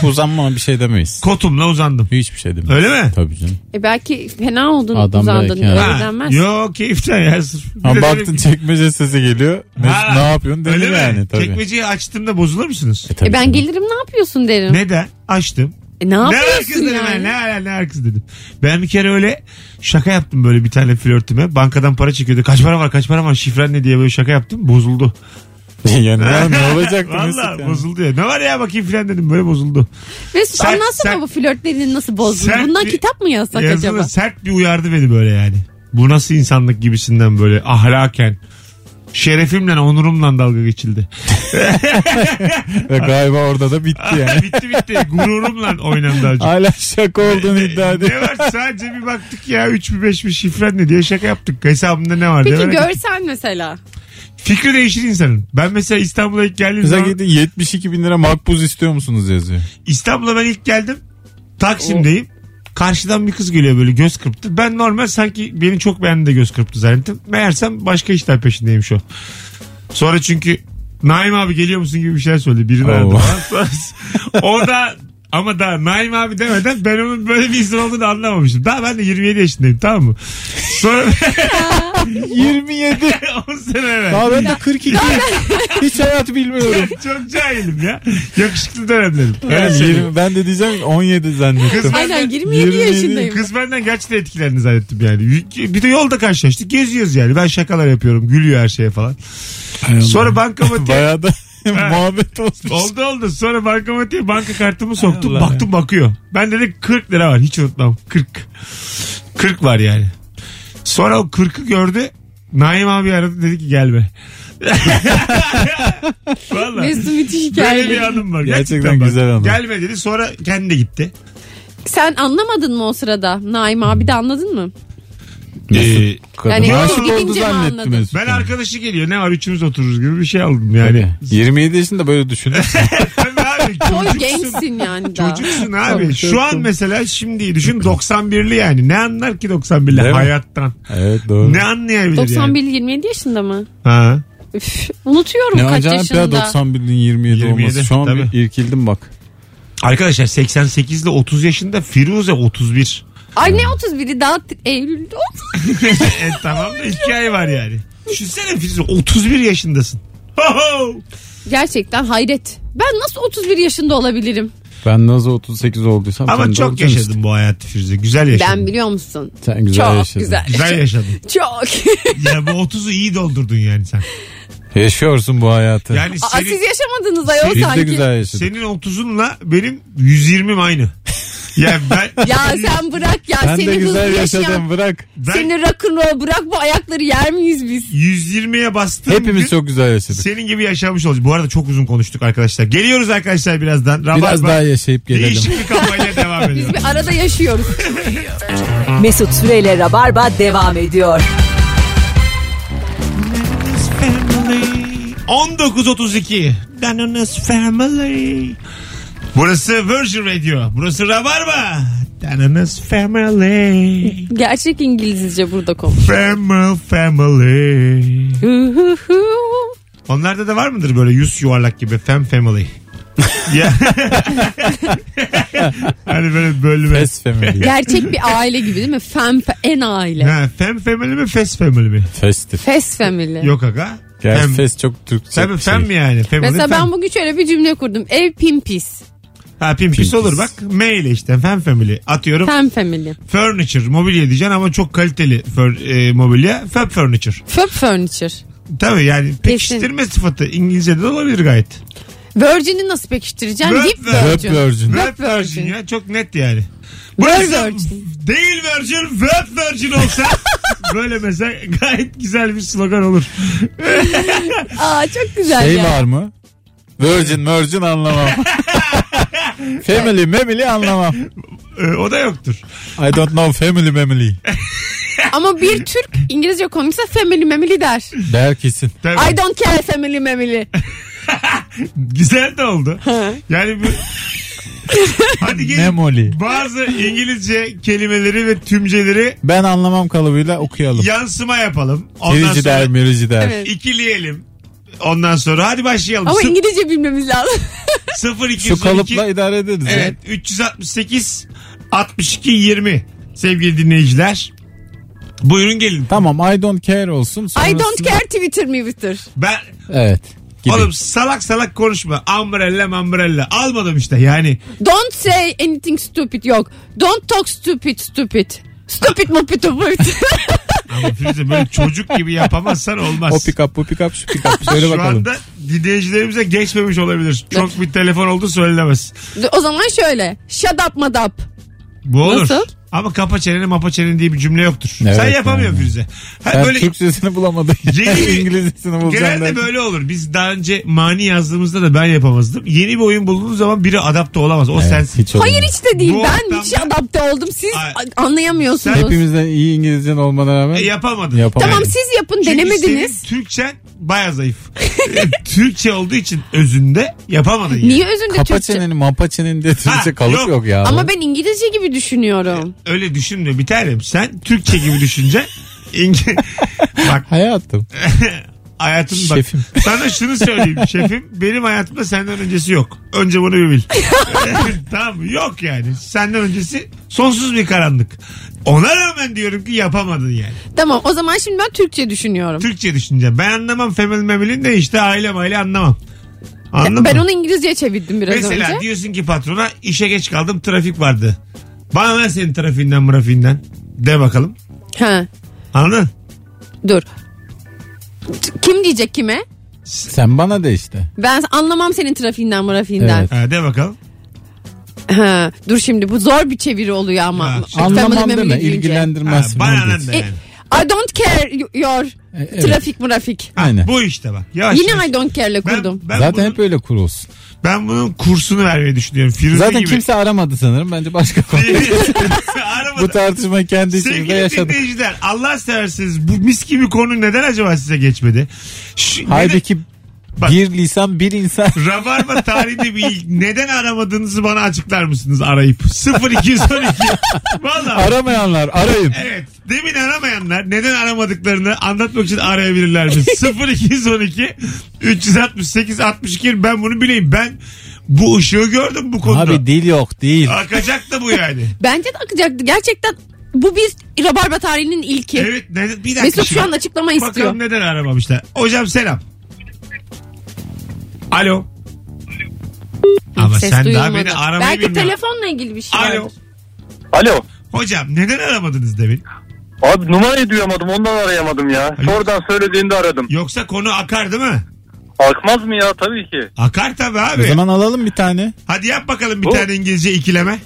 Speaker 4: Uzanma ama bir şey demeyiz.
Speaker 2: Kotumla uzandım.
Speaker 4: Hiçbir şey demeyiz.
Speaker 2: Öyle mi?
Speaker 4: Tabii canım.
Speaker 3: E belki fena oldun
Speaker 4: Adam
Speaker 3: uzandın.
Speaker 4: belki, evet.
Speaker 3: Öyle
Speaker 2: Ha,
Speaker 3: denmez.
Speaker 2: Yo keyiften ya. sırf. Bir
Speaker 4: Ama
Speaker 2: de
Speaker 4: baktın
Speaker 2: dedim ki-
Speaker 4: çekmece sesi geliyor. Mesut
Speaker 2: Ha,
Speaker 4: ne yapıyorsun
Speaker 2: Öyle
Speaker 4: denir
Speaker 2: mi?
Speaker 4: yani tabii.
Speaker 2: Çekmeceyi açtığımda bozulur musunuz?
Speaker 4: E, tabii
Speaker 3: E ben
Speaker 4: canım.
Speaker 3: gelirim ne yapıyorsun derim. E
Speaker 2: Neden? Açtım.
Speaker 3: Ne,
Speaker 2: Ne var kız
Speaker 3: yapıyorsun
Speaker 2: dedim ben.
Speaker 3: yani?
Speaker 2: Ne var ne var kız dedim. Ben bir kere öyle şaka yaptım böyle bir tane flörtüme. Bankadan para çekiyordu. Kaç para var kaç para var şifren ne diye böyle şaka yaptım. Bozuldu.
Speaker 4: yani ne, ne olacaktı Mesut
Speaker 2: Valla
Speaker 4: yani?
Speaker 2: bozuldu ya. Ne var ya bakayım filan dedim böyle bozuldu.
Speaker 3: Mesut
Speaker 2: Sen-
Speaker 3: anlatsana
Speaker 2: sen-
Speaker 3: bu flörtlerini nasıl bozdun.
Speaker 2: Sen
Speaker 3: Bundan
Speaker 2: bir-
Speaker 3: kitap mı yazsak
Speaker 2: Yazılı
Speaker 3: acaba?
Speaker 2: sert bir uyardı beni böyle yani. Bu nasıl insanlık gibisinden böyle ahlaken. Şerefimle onurumla dalga geçildi.
Speaker 4: Ve galiba orada da bitti yani.
Speaker 2: bitti bitti. Gururumla oynandı acı.
Speaker 4: Hala şaka olduğunu iddia ediyor.
Speaker 2: Ee, Ne var sadece bir baktık ya 3 mü 5 mi şifren ne diye şaka yaptık. Hesabımda ne var diye.
Speaker 3: Peki
Speaker 2: merak
Speaker 3: görsen mesela.
Speaker 2: Fikri değişir insanın. Ben mesela İstanbul'a ilk geldiğim
Speaker 4: Mesela
Speaker 2: zaman
Speaker 4: gidin 72 bin lira makbuz istiyor musunuz yazıyor.
Speaker 2: İstanbul'a ben ilk geldim. Taksim'deyim. Karşıdan bir kız geliyor böyle göz kırptı. Ben normal sanki beni çok beğendi de göz kırptı zannettim. Meğersem başka işler peşindeyim şu. Sonra çünkü Naim abi geliyor musun gibi bir şeyler söyledi. Birini aradı.
Speaker 4: Allah.
Speaker 2: falan. Sonra- o da ama daha Naim abi demeden ben onun böyle bir insan olduğunu anlamamıştım. Daha ben de 27 yaşındayım tamam mı? Sonra
Speaker 4: 27.
Speaker 2: 10 sene evvel.
Speaker 4: Daha ben de 42. Hiç hayat bilmiyorum.
Speaker 2: Çok cahilim ya. Yakışıklı dönemlerim. Öyle
Speaker 4: Yani
Speaker 2: söyleyeyim.
Speaker 4: 20 ben şey- de diyeceğim 17 zannettim.
Speaker 2: Kız ben-
Speaker 3: Aynen 27,
Speaker 4: 27
Speaker 3: yaşındayım.
Speaker 2: Kız benden gerçekten etkilendi zannettim yani. Bir de yolda karşılaştık. Geziyoruz yani. Ben şakalar yapıyorum. Gülüyor her şeye falan. Sonra bankamatiğe...
Speaker 4: Bayağı da muhabbet olmuş.
Speaker 2: oldu oldu. Sonra bankamatiğe banka kartımı soktum.
Speaker 4: Allah
Speaker 2: baktım bakıyor. Ben dedim 40 lira var. Hiç unutmam. 40. 40 var yani. Sonra o 40'ı gördü. Naim abi aradı dedi ki gelme. Valla.
Speaker 3: Mesut müthiş
Speaker 2: Böyle bir
Speaker 3: hikaye.
Speaker 2: anım var.
Speaker 4: Gerçekten
Speaker 2: bak.
Speaker 4: güzel anım.
Speaker 2: Gelme dedi sonra kendi de gitti.
Speaker 3: Sen anlamadın mı o sırada? Naim abi de anladın mı?
Speaker 2: Ee,
Speaker 3: Yani
Speaker 4: Aşık
Speaker 3: gidince mi
Speaker 4: oldu zannetti
Speaker 3: anladın?
Speaker 4: Mesut.
Speaker 2: Ben arkadaşı geliyor ne var üçümüz otururuz gibi bir şey aldım yani.
Speaker 4: yani 27 yaşında böyle düşünürsün.
Speaker 2: Sen abi
Speaker 3: Çok
Speaker 2: çocuksun.
Speaker 3: gençsin yani daha.
Speaker 2: Çocuksun abi.
Speaker 4: Tabii,
Speaker 2: Şu
Speaker 4: tabii,
Speaker 2: an
Speaker 4: tabii.
Speaker 2: mesela şimdi düşün 91'li yani. Ne anlar ki 91'li
Speaker 4: Değil mi?
Speaker 2: hayattan?
Speaker 4: evet doğru.
Speaker 2: Ne anlayabilir
Speaker 3: 91
Speaker 2: yani?
Speaker 3: 27 yaşında mı?
Speaker 2: Ha.
Speaker 3: Üf, unutuyorum
Speaker 4: Ne
Speaker 3: kaç
Speaker 4: acayip ya
Speaker 3: yaşında.
Speaker 4: 91'in 27,
Speaker 2: 27,
Speaker 4: olması. Şu an
Speaker 2: tabii.
Speaker 4: bir irkildim bak.
Speaker 2: Arkadaşlar 88 ile 30 yaşında Firuze 31.
Speaker 3: Ay ne 31'i daha t- Eylül'de oldu.
Speaker 2: e, tamam da hikaye var yani. Düşünsene Firuze 31 yaşındasın. Ho ho!
Speaker 3: Gerçekten hayret. Ben nasıl 31 yaşında olabilirim?
Speaker 4: Ben nasıl 38 olduysam sen
Speaker 2: Ama
Speaker 4: de
Speaker 2: çok
Speaker 4: olacaksın
Speaker 2: yaşadın bu hayatı Firuze. Güzel yaşadın.
Speaker 3: Ben biliyor musun?
Speaker 4: işte. Sen güzel
Speaker 3: Çok
Speaker 4: yaşadın.
Speaker 3: güzel.
Speaker 2: Güzel yaşadın.
Speaker 3: Çok.
Speaker 2: Ya bu 30'u iyi doldurdun yani sen.
Speaker 4: Yaşıyorsun bu hayatı.
Speaker 2: Yani
Speaker 3: Aa,
Speaker 2: senin-
Speaker 3: siz yaşamadınız ayol
Speaker 4: Biz
Speaker 3: sanki.
Speaker 4: de güzel yaşadık.
Speaker 2: Senin 30'unla benim 120'm aynı. Ya ben
Speaker 3: Ya sen bırak ya.
Speaker 4: Ben
Speaker 3: seni
Speaker 4: de güzel
Speaker 3: hızlı yaşayan-
Speaker 4: yaşadım bırak.
Speaker 2: ben
Speaker 3: Seni rock'n'roll bırak bu ayakları yer miyiz biz?
Speaker 2: 120'ye bastığım gün
Speaker 4: Hepimiz çok güzel yaşadık.
Speaker 2: senin gibi yaşamış olacağız. Bu arada çok uzun konuştuk arkadaşlar. Geliyoruz arkadaşlar birazdan. Rabarba
Speaker 4: Biraz daha yaşayıp gelelim.
Speaker 2: Değişik bir kafayla devam
Speaker 3: Biz
Speaker 2: ediyor.
Speaker 3: bir arada yaşıyoruz.
Speaker 1: Mesut Süreyle Rabarba devam ediyor.
Speaker 2: 19.32 Danonas Family Burası Virgin Radio. Burası Rabarba. Danonas Family.
Speaker 3: Gerçek İngilizce burada konuş.
Speaker 2: Family Family. Onlarda da var mıdır böyle yüz yuvarlak gibi fem family? ya. hani böyle bölme.
Speaker 4: Fes family.
Speaker 3: Gerçek bir aile gibi değil mi? Fem, en aile.
Speaker 2: Ha, fem family mi fes family mi?
Speaker 4: Festif.
Speaker 3: Fes family.
Speaker 2: Yok aga.
Speaker 4: Gerçi
Speaker 2: Fem,
Speaker 4: fes çok Türkçe
Speaker 2: Tabii
Speaker 4: bir
Speaker 2: fem
Speaker 4: şey.
Speaker 2: mi yani? Family,
Speaker 3: Mesela
Speaker 2: fem.
Speaker 3: ben bugün şöyle bir cümle kurdum. Ev pimpis.
Speaker 2: Ha pimpis,
Speaker 4: Pimpis.
Speaker 2: olur bak. M ile işte fem family. Atıyorum
Speaker 3: Fem family.
Speaker 2: furniture mobilya diyeceksin ama çok kaliteli fur, e, mobilya. Fab furniture.
Speaker 3: Föp furniture.
Speaker 2: Tabii yani pekiştirme sıfatı İngilizce'de de olabilir gayet.
Speaker 3: Virgin'i nasıl pekiştireceğim?
Speaker 2: Web
Speaker 3: Whip
Speaker 2: ver-
Speaker 4: Web
Speaker 3: virgin.
Speaker 4: virgin.
Speaker 3: Web
Speaker 2: Web virgin
Speaker 3: virgin.
Speaker 2: ya çok net yani. Burası
Speaker 3: virgin.
Speaker 2: değil virgin web virgin olsa böyle mesela gayet güzel bir slogan olur.
Speaker 3: Aa çok güzel
Speaker 4: Şey
Speaker 3: ya.
Speaker 4: var mı? Virgin virgin anlamam. Family memily anlamam.
Speaker 2: Ee, o da yoktur.
Speaker 4: I don't know family memily.
Speaker 3: Ama bir Türk İngilizce konuşsa family memili der.
Speaker 4: Der kesin.
Speaker 2: Tabii.
Speaker 3: I don't care family memili.
Speaker 2: Güzel de oldu. Yani bu... Hadi gelin.
Speaker 4: Memoli.
Speaker 2: Bazı İngilizce kelimeleri ve tümceleri
Speaker 4: Ben anlamam kalıbıyla okuyalım.
Speaker 2: yansıma yapalım. Ondan
Speaker 4: Kirici der,
Speaker 2: sonra
Speaker 4: mirici der.
Speaker 3: Evet.
Speaker 2: ikileyelim. Ondan sonra hadi başlayalım.
Speaker 3: Ama
Speaker 2: Sı-
Speaker 3: İngilizce bilmemiz lazım.
Speaker 2: 0
Speaker 4: Şu
Speaker 2: 212
Speaker 4: kalıpla idare ederiz. ya.
Speaker 2: Evet 368 62 20 sevgili dinleyiciler. Buyurun gelin.
Speaker 4: Tamam I don't care olsun.
Speaker 3: I don't
Speaker 4: Sonrasında-
Speaker 3: care Twitter mi Twitter.
Speaker 2: Ben
Speaker 4: Evet. Gibi.
Speaker 2: oğlum salak salak konuşma. Umbrella umbrella almadım işte yani.
Speaker 3: Don't say anything stupid yok. Don't talk stupid stupid. Stupid mı stupid.
Speaker 2: Ama Firuze böyle çocuk gibi yapamazsan olmaz.
Speaker 4: O pick up bu pick up şu pick up. Söyle
Speaker 2: Şu
Speaker 4: bakalım.
Speaker 2: anda dinleyicilerimize geçmemiş olabilir. Çok bir telefon oldu söylenemez.
Speaker 3: o zaman şöyle. Shut up madap.
Speaker 2: Bu olur.
Speaker 3: Nasıl?
Speaker 2: Ama kapa çeneni mapa çeneni diye bir cümle yoktur.
Speaker 4: Evet,
Speaker 2: Sen yapamıyorsun
Speaker 4: yani.
Speaker 2: Firuze. Ha,
Speaker 4: Ben
Speaker 2: böyle
Speaker 4: Türkçesini bulamadım.
Speaker 2: Yeni-
Speaker 4: İngilizcesini bulacağım.
Speaker 2: Genelde
Speaker 4: derken.
Speaker 2: böyle olur. Biz daha önce mani yazdığımızda da ben yapamazdım. Yeni bir oyun bulduğun zaman biri adapte olamaz. O
Speaker 4: Evet,
Speaker 2: sensin.
Speaker 4: hiç olmuyor.
Speaker 3: Hayır hiç de değil.
Speaker 2: Bu
Speaker 3: ben
Speaker 2: ortamda-
Speaker 3: hiç adapte oldum. Siz
Speaker 2: Ay-
Speaker 3: a- anlayamıyorsunuz.
Speaker 4: Hepimizden iyi İngilizcen olmana rağmen.
Speaker 2: E, yapamadın.
Speaker 4: Yapamadım.
Speaker 3: Tamam
Speaker 4: Evet.
Speaker 3: siz yapın
Speaker 2: Çünkü
Speaker 3: denemediniz.
Speaker 2: senin Türkçen baya zayıf. E, Türkçe olduğu için özünde yapamadın yani.
Speaker 3: Niye özünde
Speaker 4: Kapa
Speaker 3: Türkçe?
Speaker 4: çeneni mapa çeneni diye Türkçe
Speaker 2: Ha,
Speaker 4: kalıp
Speaker 2: yok.
Speaker 4: yok, ya.
Speaker 3: Ama ben İngilizce gibi düşünüyorum.
Speaker 2: Öyle düşünme bir tanem. Sen Türkçe gibi düşünce İngi... bak
Speaker 4: Hayatım.
Speaker 2: hayatım bak.
Speaker 4: Şefim.
Speaker 2: Sana şunu söyleyeyim şefim. Benim hayatımda senden öncesi yok. Önce bunu bir bil. E, tamam mı? Yok yani. Senden öncesi sonsuz bir karanlık. Ona rağmen diyorum ki yapamadın yani.
Speaker 3: Tamam o zaman şimdi ben Türkçe düşünüyorum.
Speaker 2: Türkçe düşüneceğim. Ben anlamam Femil Memil'in de işte aile maile anlamam. Anladın
Speaker 3: ben
Speaker 2: mı?
Speaker 3: onu İngilizceye çevirdim biraz
Speaker 2: Mesela
Speaker 3: önce.
Speaker 2: diyorsun ki patrona işe geç kaldım trafik vardı. Bana ver senin trafiğinden mırafiğinden. De bakalım.
Speaker 3: Ha,
Speaker 2: Anladın?
Speaker 3: dur. T- Kim diyecek kime?
Speaker 4: Sen bana de işte.
Speaker 3: Ben anlamam senin trafiğinden murafiğinden.
Speaker 2: Ha, de bakalım.
Speaker 3: Ha, dur şimdi bu zor bir çeviri oluyor ama.
Speaker 2: Ha,
Speaker 3: Tamam,
Speaker 4: Anlamam
Speaker 3: demem
Speaker 4: deme.
Speaker 3: deyince.
Speaker 2: Ha,
Speaker 4: ilgilendirmez.
Speaker 2: bana
Speaker 4: falan
Speaker 2: lan
Speaker 4: diyorsun.
Speaker 2: da yani.
Speaker 3: E, I don't care your
Speaker 4: E, evet.
Speaker 3: trafik murafik.
Speaker 2: Ha,
Speaker 4: Aynen.
Speaker 2: Bu işte bak. Yavaş
Speaker 3: Yine
Speaker 2: yavaş.
Speaker 3: I don't care'le kurdum.
Speaker 2: Ben, ben,
Speaker 4: Zaten
Speaker 2: bunun,
Speaker 4: hep öyle kurulsun.
Speaker 2: ben bunun kursunu vermeyi düşünüyorum. Firuze
Speaker 4: Zaten
Speaker 2: gibi.
Speaker 4: kimse aramadı sanırım. Bence başka konu.
Speaker 2: Aramadı.
Speaker 4: Bu şey tartışmayı kendi içimizde
Speaker 2: Sevgili
Speaker 4: yaşadık.
Speaker 2: dinleyiciler Allah seversiniz bu mis gibi konu neden acaba size geçmedi? Şu, neden-
Speaker 4: Halbuki
Speaker 2: Bak.
Speaker 4: bir lisan bir insan.
Speaker 2: Rabarba tarihinde bir neden aramadığınızı bana açıklar mısınız arayıp? 0212. Valla.
Speaker 4: Aramayanlar arayın.
Speaker 2: Evet. Demin aramayanlar neden aramadıklarını anlatmak için arayabilirler mi? 0212 368 62 ben bunu bileyim. Ben bu ışığı gördüm bu konuda.
Speaker 4: Abi dil yok değil.
Speaker 2: Akacak da bu yani.
Speaker 3: Bence de akacaktı. Gerçekten bu biz Rabarba tarihinin ilki.
Speaker 2: Evet neden- bir dakika.
Speaker 3: Mesut
Speaker 2: şimdi.
Speaker 3: şu an açıklama istiyor.
Speaker 2: Bakalım neden aramamışlar. Hocam selam. Alo. Ama
Speaker 3: Ses
Speaker 2: sen daha
Speaker 3: duyulmadı.
Speaker 2: beni aramayı
Speaker 3: Belki
Speaker 2: bilmiyorsun.
Speaker 3: telefonla ilgili bir şey
Speaker 2: Alo.
Speaker 3: vardır.
Speaker 5: Alo.
Speaker 2: Hocam neden aramadınız demin?
Speaker 5: Abi numarayı duyamadım ondan arayamadım ya.
Speaker 2: Hayır.
Speaker 5: Oradan söylediğinde aradım.
Speaker 2: Yoksa konu akar değil mi?
Speaker 5: Akmaz mı ya tabii ki.
Speaker 2: Akar tabii
Speaker 4: O
Speaker 2: abi.
Speaker 4: zaman alalım bir tane.
Speaker 2: Hadi yap bakalım bir
Speaker 5: Bu-
Speaker 2: tane İngilizce ikileme.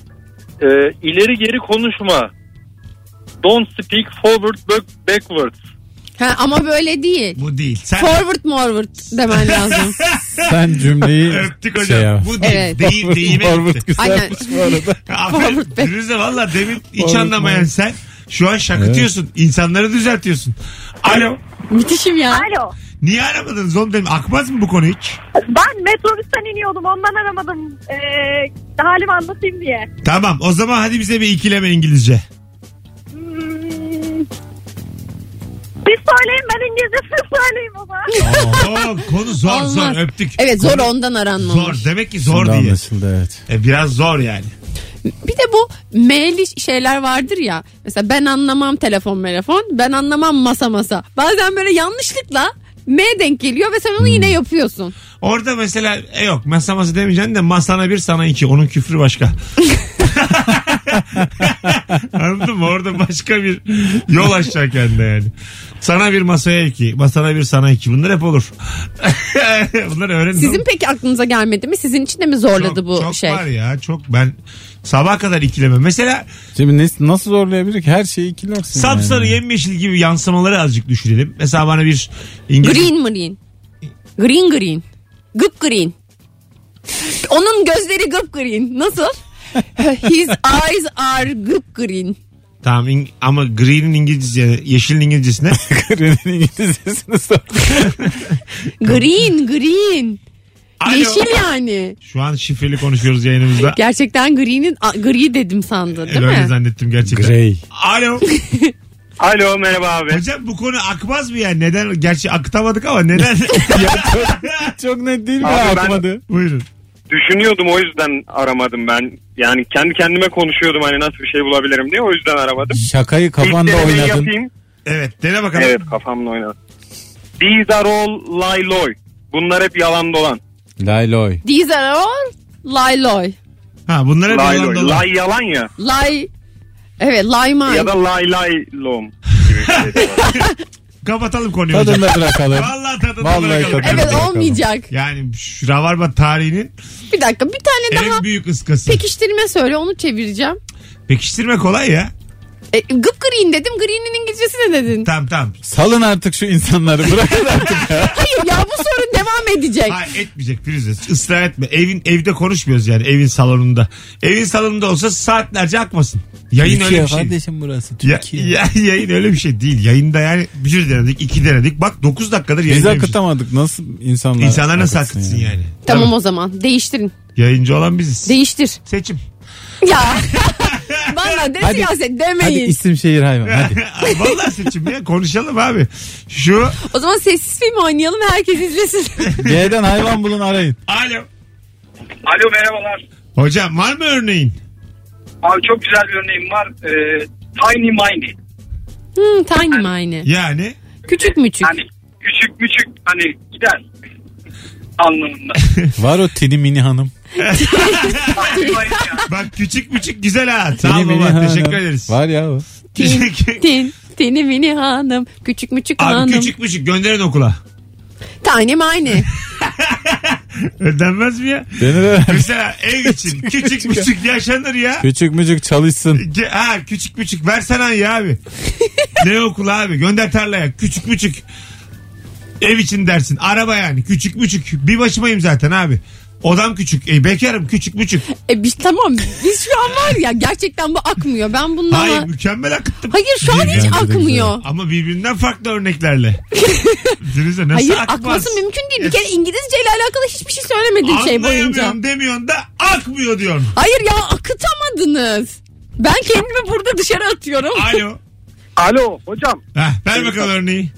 Speaker 5: Ee, ileri geri konuşma. Don't speak forward back- backwards.
Speaker 3: Ha, ama böyle değil.
Speaker 2: Bu değil. Sen
Speaker 3: Forward morward demen lazım.
Speaker 4: Sen cümleyi
Speaker 2: öptük hocam.
Speaker 4: şey yap.
Speaker 2: Bu değil.
Speaker 3: Evet.
Speaker 2: Değil, deyime
Speaker 4: Forward
Speaker 2: gitti.
Speaker 4: güzelmiş bu arada.
Speaker 2: Aferin.
Speaker 3: Forward back.
Speaker 2: Firuze valla demin hiç
Speaker 4: Forward
Speaker 2: anlamayan
Speaker 4: back.
Speaker 2: sen şu an şakıtıyorsun. İnsanları düzeltiyorsun. Alo.
Speaker 3: Müthişim ya.
Speaker 6: Alo.
Speaker 2: Niye aramadınız oğlum demin? Akmaz mı bu konu hiç?
Speaker 6: Ben metrobüsten iniyordum ondan aramadım. Ee, halimi anlatayım diye.
Speaker 2: Tamam o zaman hadi bize bir ikileme İngilizce.
Speaker 6: Hmm. Siz söyleyin ben İngilizcesini söyleyeyim o zaman.
Speaker 2: Oo, konu zor
Speaker 3: Olmaz.
Speaker 2: zor öptük.
Speaker 3: Evet zor
Speaker 2: Konu
Speaker 3: ondan aranmamış.
Speaker 2: Zor demek ki zor
Speaker 4: Şimdi
Speaker 2: diye.
Speaker 4: anlaşıldı evet.
Speaker 2: E, biraz zor yani.
Speaker 3: Bir de bu maili şeyler vardır ya. Mesela ben anlamam telefon telefon. Ben anlamam masa masa. Bazen böyle yanlışlıkla M denk geliyor ve sen onu yine
Speaker 2: Hmm.
Speaker 3: yapıyorsun.
Speaker 2: Orada mesela e yok masa masa demeyeceksin de masana bir sana iki. Onun küfrü başka. Anladın mı? Orada başka bir yol açacak kendine yani. Sana bir masaya iki. Masana bir sana iki. Bunlar hep olur. Bunlar öğrenin.
Speaker 3: Sizin peki aklınıza gelmedi mi? Sizin için de mi zorladı
Speaker 2: çok,
Speaker 3: bu
Speaker 2: çok
Speaker 3: şey?
Speaker 2: var ya çok ben sabah kadar ikileme. Mesela
Speaker 4: Şimdi ne- nasıl zorlayabilir ki? Her şeyi ikilersin.
Speaker 2: sapsarı yemyeşil gibi yansımaları azıcık düşünelim. Mesela bana bir İngilizce
Speaker 3: Green marine. Green green. Gıp green. Onun gözleri gıpgreen. Nasıl? His eyes are gıpgreen.
Speaker 2: Tamam in- ama green'in İngilizcesi yani yeşilin İngilizcesine
Speaker 4: Karenin İngilizcesini sor.
Speaker 3: Green, green.
Speaker 2: Alo.
Speaker 3: Yeşil yani.
Speaker 2: Şu an şifreli konuşuyoruz yayınımızda.
Speaker 3: Gerçekten green'in a, gri dedim sandı değil
Speaker 2: Öyle
Speaker 3: mi?
Speaker 2: zannettim gerçekten.
Speaker 4: Grey.
Speaker 2: Alo.
Speaker 5: Alo merhaba abi.
Speaker 2: Hocam bu konu akmaz mı ya? Neden? Gerçi akıtamadık ama neden?
Speaker 4: Çok net değil mi
Speaker 5: Abi ben-
Speaker 4: akmadı?
Speaker 2: Buyurun.
Speaker 5: Düşünüyordum o yüzden aramadım ben. Yani kendi kendime konuşuyordum hani nasıl bir şey bulabilirim diye o yüzden aramadım.
Speaker 4: Şakayı kafanda
Speaker 5: denemeyi
Speaker 4: oynadın.
Speaker 5: yapayım.
Speaker 2: Evet dene bakalım.
Speaker 5: Evet kafamla oynadım. These are all lie loy. Bunlar hep yalan dolan.
Speaker 4: Layloy.
Speaker 3: These are all lie loy.
Speaker 2: Ha bunlara
Speaker 5: Lie
Speaker 2: bir
Speaker 5: loy.
Speaker 2: dolan.
Speaker 5: Lie yalan ya.
Speaker 3: Lie. Evet lie mine.
Speaker 5: Ya da lie lie lom. gibi bir şey de var.
Speaker 2: Kapatalım konuyu hocam.
Speaker 4: Tadında bırakalım.
Speaker 2: Vallahi tadını
Speaker 4: Vallahi
Speaker 2: bırakalım.
Speaker 4: tadını.
Speaker 3: Evet
Speaker 4: Bakalım.
Speaker 3: olmayacak.
Speaker 2: Yani şu Ravarba tarihinin
Speaker 3: Bir dakika bir tane daha
Speaker 2: en büyük ıskası.
Speaker 3: pekiştirme söyle onu çevireceğim.
Speaker 2: Pekiştirme kolay ya.
Speaker 3: E, gıp green dedim green'in İngilizcesi ne dedin?
Speaker 2: Tamam tamam.
Speaker 4: Salın artık şu insanları. Bırakın artık ya.
Speaker 3: Hayır ya bu sorun devam edecek.
Speaker 2: Hayır etmeyecek Firuze. Israr etme. Evin evde konuşmuyoruz yani evin salonunda. Evin salonunda olsa saatlerce akmasın. Yayın öyle bir şey. değil.
Speaker 4: burası.
Speaker 2: Ya, ya, yayın öyle bir şey değil. Yayında yani bir denedik, iki denedik. Bak 9 dakikadır
Speaker 4: Biz
Speaker 2: yayındaymışız.
Speaker 4: akıtamadık. Nasıl insanlar?
Speaker 2: şey. İnsanlar nasıl
Speaker 4: akıtsın
Speaker 2: akıtsın
Speaker 4: ya?
Speaker 2: yani?
Speaker 3: Tamam
Speaker 2: Tabii.
Speaker 3: o zaman değiştirin.
Speaker 2: Yayıncı olan biziz.
Speaker 3: Değiştir.
Speaker 2: Seçim.
Speaker 3: Ya. Valla de
Speaker 4: Hadi.
Speaker 3: siyaset
Speaker 4: Hadi
Speaker 3: demeyin.
Speaker 4: isim şehir hayvan. Hadi.
Speaker 2: Vallahi seçim ya konuşalım abi. Şu
Speaker 3: O zaman sessiz film oynayalım herkes izlesin.
Speaker 4: G'den hayvan bulun arayın.
Speaker 2: alo.
Speaker 7: Alo merhabalar.
Speaker 2: Hocam var mı örneğin?
Speaker 7: Abi çok güzel bir örneğim var. Ee, tiny Miny.
Speaker 3: hmm, tiny mine.
Speaker 2: Yani
Speaker 3: Küçük müçük.
Speaker 7: Hani küçük küçük hani gider anlamında.
Speaker 4: Var o Tini Mini Hanım.
Speaker 7: Tiny Miny ya.
Speaker 2: bak küçük küçük güzel ha.
Speaker 4: Tini
Speaker 2: Sağ ol
Speaker 4: Mini
Speaker 2: baba
Speaker 4: Hanım.
Speaker 2: teşekkür ederiz.
Speaker 4: Var ya o.
Speaker 3: Tin,
Speaker 2: Teşekkür-
Speaker 3: tin, tini mini hanım. Küçük müçük hanım.
Speaker 2: Abi küçük küçük gönderin okula.
Speaker 3: Tiny mine.
Speaker 2: Ödenmez mi ya?
Speaker 4: Denir öyle.
Speaker 2: Mesela ev için küçük küçük yaşanır ya.
Speaker 4: Küçük mücük çalışsın.
Speaker 2: Ge- Ha küçük küçük versene ya abi. ne okul abi gönder tarlaya küçük küçük. Ev için dersin araba yani küçük küçük. Bir başımayım zaten abi. Odam küçük. E, bekarım küçük küçük.
Speaker 3: E biz tamam biz şu an var ya gerçekten bu akmıyor. Ben bundan
Speaker 2: Hayır
Speaker 3: Hayır,
Speaker 2: mükemmel akıttım.
Speaker 3: şu an hiç
Speaker 4: Bence de
Speaker 3: akmıyor.
Speaker 2: Ama birbirinden farklı örneklerle. Firuze nasıl
Speaker 3: Hayır
Speaker 2: akmaz? E,
Speaker 3: akması mümkün değil. Bir kere İngilizce ile alakalı hiçbir şey söylemedin şey boyunca.
Speaker 2: Anlayamıyorum demiyorsun da akmıyor diyorsun.
Speaker 3: Hayır ya akıtamadınız. Ben kendimi burada dışarı atıyorum.
Speaker 2: Alo.
Speaker 5: Alo hocam.
Speaker 2: Heh, ver bakalım örneği.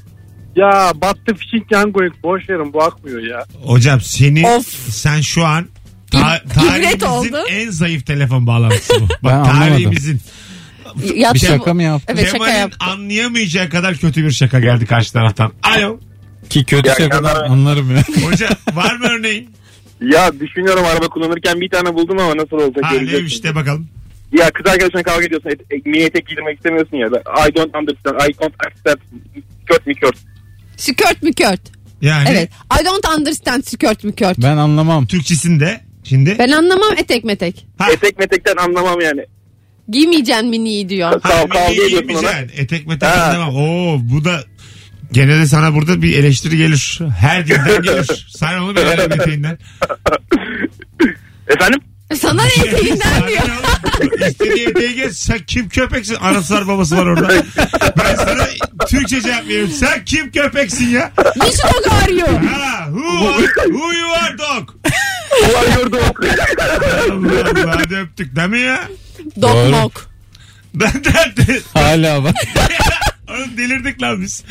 Speaker 5: Ya battı fishing yan going. Boş verin bu akmıyor ya.
Speaker 2: Hocam seni
Speaker 3: Of.
Speaker 2: sen şu an ta-
Speaker 3: İb- ibret
Speaker 2: tarihimizin
Speaker 3: oldu.
Speaker 2: en zayıf telefon bağlantısı bu.
Speaker 4: Ben
Speaker 2: Bak
Speaker 4: anlamadım.
Speaker 2: tarihimizin.
Speaker 3: Ya,
Speaker 4: Bir şaka mı yaptın?
Speaker 3: Evet şaka
Speaker 2: Kemal'in
Speaker 3: yaptım.
Speaker 2: anlayamayacağı kadar kötü bir şaka geldi karşı taraftan. Alo.
Speaker 4: Ki kötü
Speaker 5: Ya
Speaker 4: şakadan
Speaker 5: kenara-
Speaker 4: anlarım ya.
Speaker 2: Hocam var mı örneğin?
Speaker 5: Ya düşünüyorum araba kullanırken bir tane buldum ama nasıl olsa
Speaker 2: Ha
Speaker 5: göreceksin.
Speaker 2: neymiş de bakalım.
Speaker 5: Ya kız arkadaşına kavga ediyorsun. Et, e, mini etek giydirmek istemiyorsun ya. I don't understand. I don't accept. Kört mi kört.
Speaker 3: Skört mü kört?
Speaker 2: Yani
Speaker 3: Evet. I don't understand skört mü kört?
Speaker 4: Ben anlamam.
Speaker 2: Türkçesinde şimdi.
Speaker 3: Ben anlamam etek metek.
Speaker 2: Ha.
Speaker 5: Etek metekten anlamam yani.
Speaker 3: Giymeyeceksin miniyi diyor.
Speaker 5: Kav-
Speaker 2: Ha,
Speaker 5: kavga
Speaker 2: milli
Speaker 5: ediyorsun ona.
Speaker 2: giyinmeyeceksin. Etek metek
Speaker 5: Ha.
Speaker 2: anlamam. Oo bu da gene de sana burada bir eleştiri gelir. Her dilden gelir. Sen onu bir elem eteğinden.
Speaker 5: Efendim?
Speaker 3: Sana ne
Speaker 2: Şey,
Speaker 3: eteğinden diyor.
Speaker 2: İstediği eteği geç. Sen kim köpeksin? Anası var babası var orada. Ben sana Türkçe cevap veriyorum. Sen kim köpeksin ya?
Speaker 3: Which dog are you?
Speaker 2: Ha, who, are, who you are dog?
Speaker 5: Ulan yurdu.
Speaker 2: Allah Allah hadi öptük değil mi ya?
Speaker 3: Dog
Speaker 4: Doğru.
Speaker 3: mok.
Speaker 2: Ben de
Speaker 4: Hala bak.
Speaker 2: Oğlum delirdik lan biz.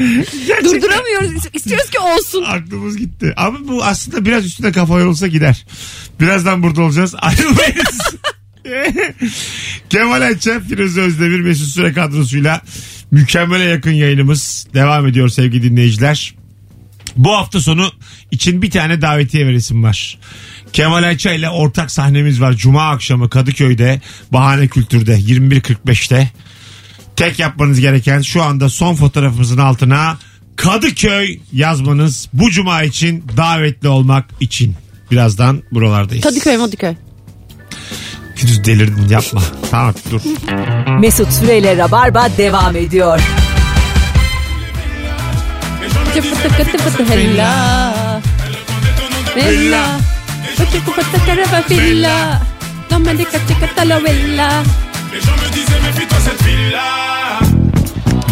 Speaker 2: Gerçekten
Speaker 3: Durduramıyoruz. İstiyoruz ki olsun.
Speaker 2: aklımız gitti. Ama bu aslında biraz üstüne kafa yorulsa gider. Birazdan burada olacağız. Ayrılmayız. Kemal Ayça, Firuze Özdemir, Mesut Süre kadrosuyla mükemmele yakın yayınımız devam ediyor sevgili dinleyiciler. Bu hafta sonu için bir tane davetiye veresim var. Kemal Ayça ile ortak sahnemiz var. Cuma akşamı Kadıköy'de Bahane Kültür'de 21.45'te. Tek yapmanız gereken şu anda son fotoğrafımızın altına Kadıköy yazmanız bu cuma için davetli olmak için. Birazdan buralardayız.
Speaker 3: Kadıköy Madıköy.
Speaker 2: Firuze delirdin yapma. tamam dur.
Speaker 1: Mesut Süreyle Rabarba devam ediyor.
Speaker 3: Fıtı fıtı fıtı hella. Hella.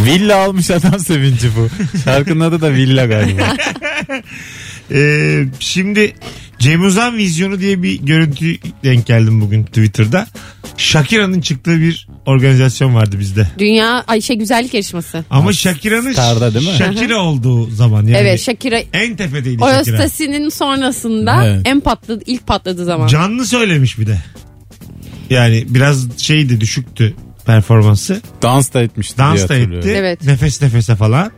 Speaker 4: Villa almış adam sevinci bu. Şarkının adı da Villa galiba.
Speaker 2: Ee, şimdi Cem Uzan vizyonu diye bir görüntü denk geldim bugün Twitter'da. Shakira'nın çıktığı bir organizasyon vardı bizde.
Speaker 3: Dünya ay şey güzellik yarışması.
Speaker 2: Ama Shakira'nın
Speaker 4: Star'da değil mi?
Speaker 2: Shakira olduğu zaman yani.
Speaker 3: Evet Shakira
Speaker 2: En tepedeydi Shakira.
Speaker 3: Orastasinin sonrasında
Speaker 4: Evet.
Speaker 3: en patladı ilk patladığı zaman.
Speaker 2: Canlı söylemiş bir de. Yani biraz şeydi düşüktü performansı.
Speaker 4: Dans da etmişti diye
Speaker 2: Dans da
Speaker 4: hatırlıyorum.
Speaker 2: etti.
Speaker 3: Evet.
Speaker 2: Nefes nefese falan.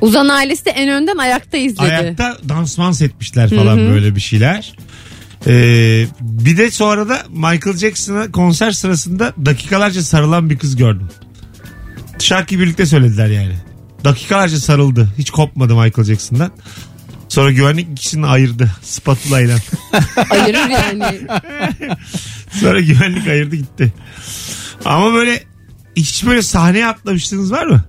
Speaker 3: Uzan ailesi de en önden ayakta izledi.
Speaker 2: Ayakta dans mans etmişler falan böyle bir şeyler. Ee, bir de sonra da Michael Jackson'a konser sırasında dakikalarca sarılan bir kız gördüm. Şarkıyı birlikte söylediler yani. Dakikalarca sarıldı. Hiç kopmadı Michael Jackson'dan. Sonra güvenlik ikisini ayırdı spatula ile.
Speaker 3: Ayırır yani.
Speaker 2: Sonra güvenlik ayırdı gitti. Ama böyle hiç böyle sahneye atlamışlığınız var mı?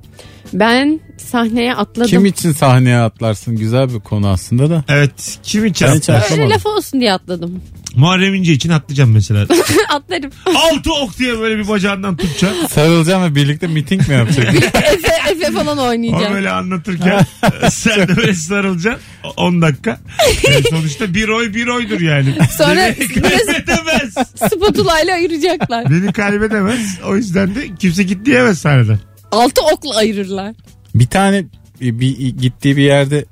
Speaker 3: Ben sahneye atladım.
Speaker 4: Kim için sahneye atlarsın? Güzel bir konu aslında da.
Speaker 2: Evet. Kim için
Speaker 4: Ben hiç
Speaker 2: atlar?
Speaker 3: Öyle
Speaker 4: atlamadım.
Speaker 3: laf olsun diye atladım.
Speaker 2: Muharrem İnce için atlayacağım mesela.
Speaker 3: Atlarım.
Speaker 2: Altı ok diye böyle bir bacağından tutacak.
Speaker 4: Sarılacağım ve birlikte miting mi yapacak?
Speaker 3: Efe, Efe falan
Speaker 2: O
Speaker 3: oynayacağım.
Speaker 2: böyle anlatırken e, sen de böyle sarılacaksın 10 dakika. Yani sonuçta bir oy bir oydur yani.
Speaker 3: Sonra-
Speaker 2: Beni kaybedemez.
Speaker 3: Spatula ile ayıracaklar.
Speaker 2: Beni kaybedemez. O yüzden de kimse git diyemez sahneden.
Speaker 3: Altı okla ayırırlar.
Speaker 4: bir tane bir, bir- gittiği bir yerde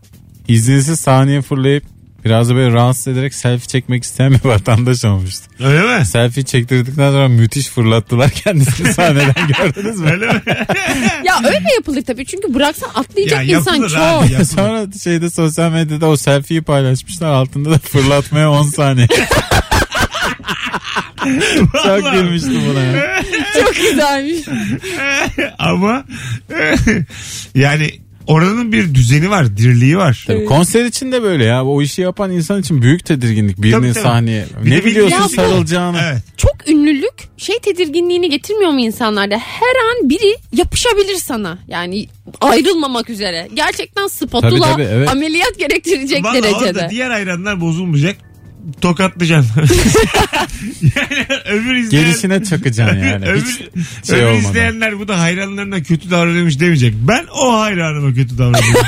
Speaker 4: izinsiz sahneye fırlayıp biraz da böyle rahatsız ederek selfie çekmek isteyen bir vatandaş olmuştu.
Speaker 2: Öyle mi?
Speaker 4: Selfie çektirdikten sonra müthiş fırlattılar kendisini sahneden gördünüz mü?
Speaker 2: Öyle mi?
Speaker 3: Ya öyle yapılır tabii. Çünkü bıraksan atlayacak insan
Speaker 2: yapılır
Speaker 3: çok.
Speaker 2: abi, yapılır.
Speaker 4: Sonra şeyde sosyal medyada o selfie'yi paylaşmışlar altında da fırlatmaya 10 saniye. Çok
Speaker 2: Vallahi.
Speaker 4: gülmüştüm buna ya.
Speaker 3: Çok güzelmiş.
Speaker 2: E, Ama e, yani oranın bir düzeni var, dirliği var.
Speaker 4: Tabii konser için de böyle ya. O işi yapan insan için büyük tedirginlik. Birinin
Speaker 2: Tabii, tabii.
Speaker 4: sahneye.
Speaker 2: Bir de
Speaker 4: ne biliyorsun
Speaker 2: bilmiyorsun.
Speaker 4: sarılacağını.
Speaker 2: Evet.
Speaker 3: Çok ünlülük şey tedirginliğini getirmiyor mu insanlarda? Her an biri yapışabilir sana. Yani ayrılmamak üzere. Gerçekten spatula
Speaker 4: Tabii, tabii, evet.
Speaker 3: ameliyat gerektirecek
Speaker 2: Vallahi orada
Speaker 3: derecede.
Speaker 2: diğer hayranlar bozulmayacak. Tokatlayacaksın. yani öbür izleyen...
Speaker 4: Gelişine çakacaksın yani. Hiç
Speaker 2: öbür
Speaker 4: şey
Speaker 2: öbür
Speaker 4: olmadan.
Speaker 2: izleyenler bu da hayranlarına kötü davranıyormuş demeyecek. Ben o hayranıma kötü davranıyorum.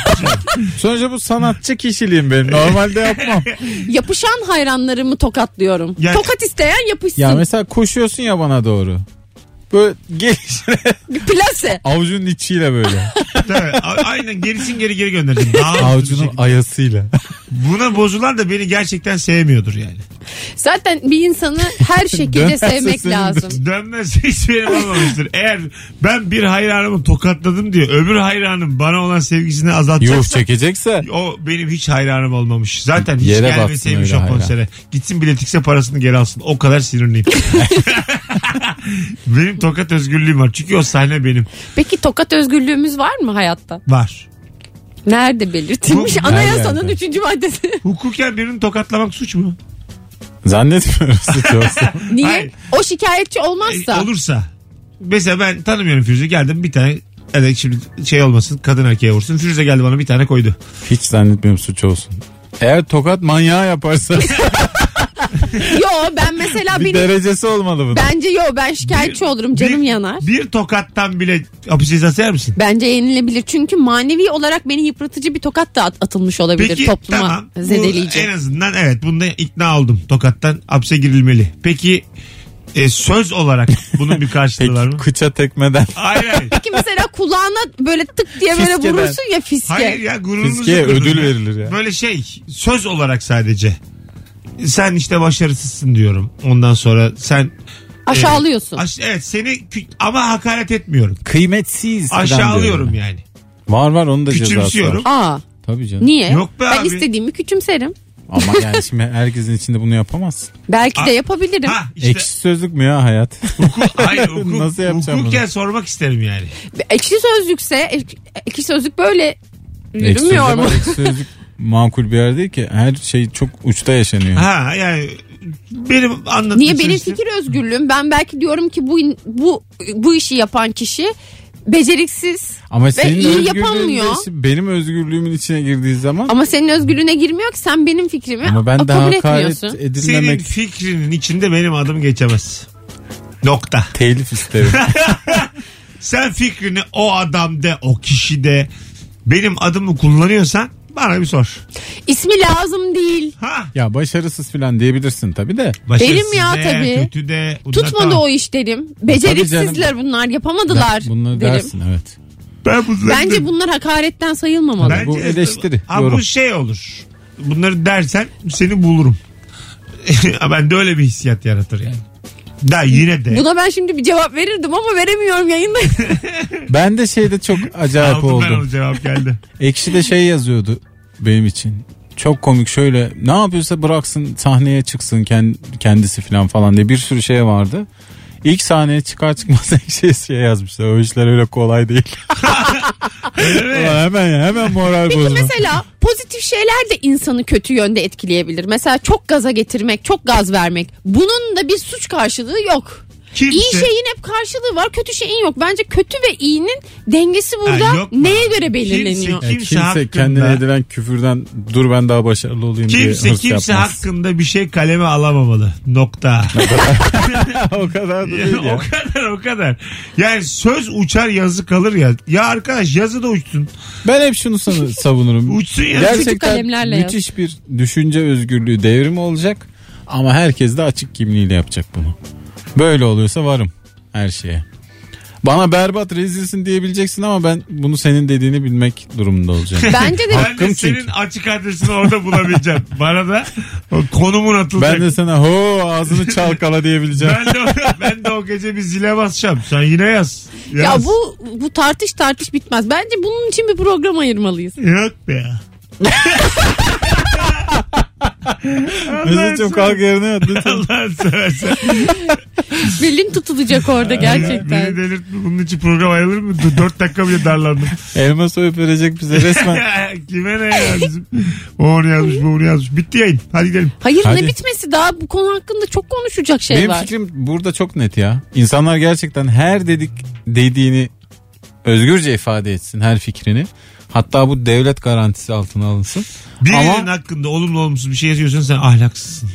Speaker 4: Sonuçta bu sanatçı kişiliğim benim. Normalde yapmam.
Speaker 3: Yapışan hayranlarımı tokatlıyorum.
Speaker 2: Ya-
Speaker 3: Tokat isteyen yapışsın.
Speaker 4: ya mesela koşuyorsun ya bana doğru. Böyle gelişine
Speaker 3: Plase.
Speaker 4: avucunun içiyle böyle.
Speaker 2: Tabii. A- Aynen gerisin geri geri göndereceğim. Daha hızlı bir
Speaker 4: Avucunun
Speaker 2: şekilde.
Speaker 4: ayasıyla.
Speaker 2: Buna bozulan da beni gerçekten sevmiyordur yani.
Speaker 3: Zaten bir insanı her şekilde
Speaker 4: Dönerse
Speaker 3: sevmek
Speaker 4: senin
Speaker 3: lazım.
Speaker 2: Dönmezse hiç benim olmamıştır. Eğer ben bir hayranımı tokatladım diye öbür hayranım bana olan sevgisini
Speaker 4: Yuh
Speaker 2: azaltacaksa
Speaker 4: çekecekse.
Speaker 2: o benim hiç hayranım olmamış. Zaten hiç
Speaker 4: Yere
Speaker 2: gelmeseymiş
Speaker 4: batsın
Speaker 2: o
Speaker 4: öyle hayran.
Speaker 2: konsere. Gitsin biletikse parasını geri alsın. O kadar sinirliyim. benim tokat özgürlüğüm var. Çünkü o sahne benim.
Speaker 3: Peki tokat özgürlüğümüz var mı hayatta?
Speaker 2: Var.
Speaker 3: Nerede belirtilmiş?
Speaker 2: Bu-
Speaker 3: Anayasanın
Speaker 4: Nerede?
Speaker 3: 3. maddesi.
Speaker 2: Hukuken birini tokatlamak suç mu?
Speaker 4: Zannetmiyorum suç olsa.
Speaker 3: Niye?
Speaker 2: Hayır.
Speaker 3: O şikayetçi
Speaker 2: E,
Speaker 3: olmazsa.
Speaker 2: olursa. Mesela ben tanımıyorum Firuze. Geldim bir tane Evet şimdi şey olmasın kadın erkeğe vursun. Firuze geldi bana bir tane koydu.
Speaker 4: Hiç zannetmiyorum suç olsun. Eğer tokat manyağı yaparsa
Speaker 3: yo ben mesela
Speaker 4: bir
Speaker 3: benim
Speaker 4: derecesi olmalı bunun.
Speaker 3: bence yo ben şikayetçi olurum canım
Speaker 2: bir,
Speaker 3: yanar.
Speaker 2: Bir tokattan bile hapis cezası yer misin?
Speaker 3: Bence yenilebilir çünkü manevi olarak beni yıpratıcı bir tokat da at- atılmış olabilir
Speaker 2: Peki
Speaker 3: topluma
Speaker 2: tamam. Bu
Speaker 3: zedeleyici.
Speaker 2: en azından evet bunda ikna oldum. Tokattan hapse girilmeli. Peki e, söz olarak bunun bir karşılığı var
Speaker 4: Peki
Speaker 2: mı?
Speaker 4: kıça tekmeden.
Speaker 2: Hayır hayır.
Speaker 3: Peki mesela kulağına böyle tık diye böyle
Speaker 4: Fiskeden.
Speaker 3: vurursun ya fiske.
Speaker 2: Hayır e, ya gururumuzu
Speaker 4: Fiskeye
Speaker 2: kırdın
Speaker 4: ödül
Speaker 2: ya.
Speaker 4: verilir ya.
Speaker 2: Böyle şey söz olarak sadece. Sen işte başarısızsın diyorum. Ondan sonra sen
Speaker 3: Aşağılıyorsun.
Speaker 2: Aş- evet seni kü- ama hakaret etmiyorum.
Speaker 4: Kıymetsiz. falan
Speaker 2: Aşağılıyorum
Speaker 4: diyorum.
Speaker 2: yani.
Speaker 4: Var var onun da cezası var.
Speaker 2: Küçümsüyorum.
Speaker 3: Aa
Speaker 4: Tabii canım.
Speaker 3: niye?
Speaker 2: Yok be
Speaker 3: ben
Speaker 2: abi.
Speaker 3: istediğimi küçümserim.
Speaker 4: Ama yani şimdi herkesin içinde bunu yapamazsın.
Speaker 3: Belki de
Speaker 2: Aa,
Speaker 3: yapabilirim.
Speaker 2: Ha işte
Speaker 4: Ekşi sözlük mü ya hayat?
Speaker 2: hukuk, hayır, hukuk,
Speaker 4: Nasıl yapacağım bunu?
Speaker 2: hukuken sormak isterim yani.
Speaker 3: Ekşi sözlükse ek- ekşi sözlük böyle
Speaker 4: Ekşi
Speaker 3: yürümüyor
Speaker 4: sözlük-
Speaker 3: mu?
Speaker 4: Ekşi sözlük makul bir yer değil ki. Her şey çok uçta yaşanıyor.
Speaker 2: Ha yani benim anlatmam
Speaker 3: Niye benim fikir özgürlüğüm? Ben belki diyorum ki bu bu bu işi yapan kişi beceriksiz.
Speaker 4: Ama senin
Speaker 3: iyi
Speaker 4: özgürlüğün
Speaker 3: yapamıyor.
Speaker 4: de- benim özgürlüğümün içine girdiği zaman
Speaker 3: Ama senin özgürlüğüne girmiyor ki sen benim fikrimi
Speaker 4: ama ben
Speaker 3: kabul
Speaker 4: daha hakaret
Speaker 3: etmiyorsun.
Speaker 2: Senin
Speaker 4: edilmemek
Speaker 2: fikrinin içinde benim adım geçemez. Nokta.
Speaker 4: telif isterim.
Speaker 2: Sen fikrini o adamda, o kişide benim adımı kullanıyorsan bana bir sor.
Speaker 3: İsmi lazım değil.
Speaker 2: Ha.
Speaker 4: ya başarısız falan diyebilirsin tabii de.
Speaker 2: Başarısız
Speaker 3: ya
Speaker 2: ne,
Speaker 3: tabii.
Speaker 2: Kötü de. bunlar
Speaker 3: Tutmadı
Speaker 2: tamam.
Speaker 3: o iş derim.
Speaker 4: E, Tabii
Speaker 3: Beceriksizler
Speaker 4: canım.
Speaker 3: bunlar yapamadılar
Speaker 4: Bunları
Speaker 3: derim.
Speaker 4: dersin evet.
Speaker 2: Ben bunları-
Speaker 3: Bence bunlar hakaretten sayılmamalı.
Speaker 4: Ben- Bu eleştiri,
Speaker 2: Ama
Speaker 4: yorum.
Speaker 2: bu şey olur. Bunları dersen seni bulurum. ben de öyle bir hissiyat yaratır yani. Da yine de.
Speaker 3: Buna ben şimdi bir cevap verirdim ama veremiyorum yayında.
Speaker 4: Ben de şeyde çok acayip
Speaker 2: Aldım ben
Speaker 4: oldum.
Speaker 2: onu cevap geldi.
Speaker 4: Ekşi de şey yazıyordu benim için. Çok komik şöyle ne yapıyorsa bıraksın sahneye çıksın kend- kendisi falan falan diye bir sürü şey vardı. İlk sahneye çıkar çıkmaz Ekşi'ye şey yazmışlar. O işler öyle kolay değil. Ulan hemen ya, hemen moral
Speaker 3: Peki
Speaker 4: bozma.
Speaker 3: mesela pozitif şeyler de insanı kötü yönde etkileyebilir. Mesela çok gaza getirmek, çok gaz vermek. Bunun da bir suç karşılığı yok.
Speaker 2: Kimse,
Speaker 3: İyi şey- şeyin hep karşılığı var, kötü şeyin yok. Bence kötü ve iyinin dengesi burada
Speaker 2: Ha, yok mu?
Speaker 3: neye göre belirleniyor?
Speaker 4: Ya
Speaker 2: Kimse
Speaker 4: kimse
Speaker 2: hakkında-
Speaker 4: kendine edilen küfürden dur ben daha başarılı olayım diye
Speaker 2: kimse
Speaker 4: hırs
Speaker 2: kimse
Speaker 4: yapmaz.
Speaker 2: hakkında bir şey kaleme alamamalı. Nokta.
Speaker 4: o kadar da değil
Speaker 2: Yani o
Speaker 4: ya.
Speaker 2: kadar o kadar. Yani söz uçar yazı kalır ya. Ya arkadaş yazı da uçsun.
Speaker 4: Ben hep şunu san- savunurum.
Speaker 2: Uçsun yazı.
Speaker 3: Küçük
Speaker 4: Gerçekten
Speaker 3: kalemlerle yaz.
Speaker 4: müthiş bir düşünce özgürlüğü devrimi olacak. Ama herkes de açık kimliğiyle yapacak bunu. Böyle oluyorsa varım her şeye. Bana berbat rezilsin diyebileceksin ama ben bunu senin dediğini bilmek durumunda olacağım.
Speaker 3: Bence de
Speaker 2: Ben de
Speaker 4: Hakkım
Speaker 2: senin
Speaker 4: çünkü.
Speaker 2: açık adresini orada bulabileceğim. Bana da o konumun atılacak.
Speaker 4: ben de sana ho ağzını çalkala diyebileceğim.
Speaker 2: Ben de, ben de o gece bir zile basacağım. Sen yine yaz. yaz.
Speaker 3: ya bu bu tartış tartış bitmez. Bence bunun için bir program ayırmalıyız.
Speaker 2: Yok be ya.
Speaker 4: Mesut'cum kalk yerine yat lütfen.
Speaker 2: Allah'ını seversen.
Speaker 3: Belin tutulacak orada
Speaker 2: Beni
Speaker 3: gerçekten.
Speaker 2: delirtme. Bunun için program ayrılır mı? Dur, Dört dakika bile darlandım.
Speaker 4: Elma soyup verecek bize resmen.
Speaker 2: Kime ne ya bizim? O onu yazmış, bu onu yazmış. Bitti yayın. Hadi gidelim.
Speaker 3: Hayır
Speaker 4: Hadi.
Speaker 3: ne bitmesi daha bu konu hakkında çok konuşacak şey
Speaker 4: Benim
Speaker 3: var.
Speaker 4: fikrim burada çok net ya. İnsanlar gerçekten her dedik dediğini özgürce ifade etsin her fikrini. Hatta bu devlet garantisi altına alınsın.
Speaker 2: Birinin
Speaker 4: Ama
Speaker 2: hakkında olumlu olumsuz bir şey yazıyorsan sen ahlaksızsın.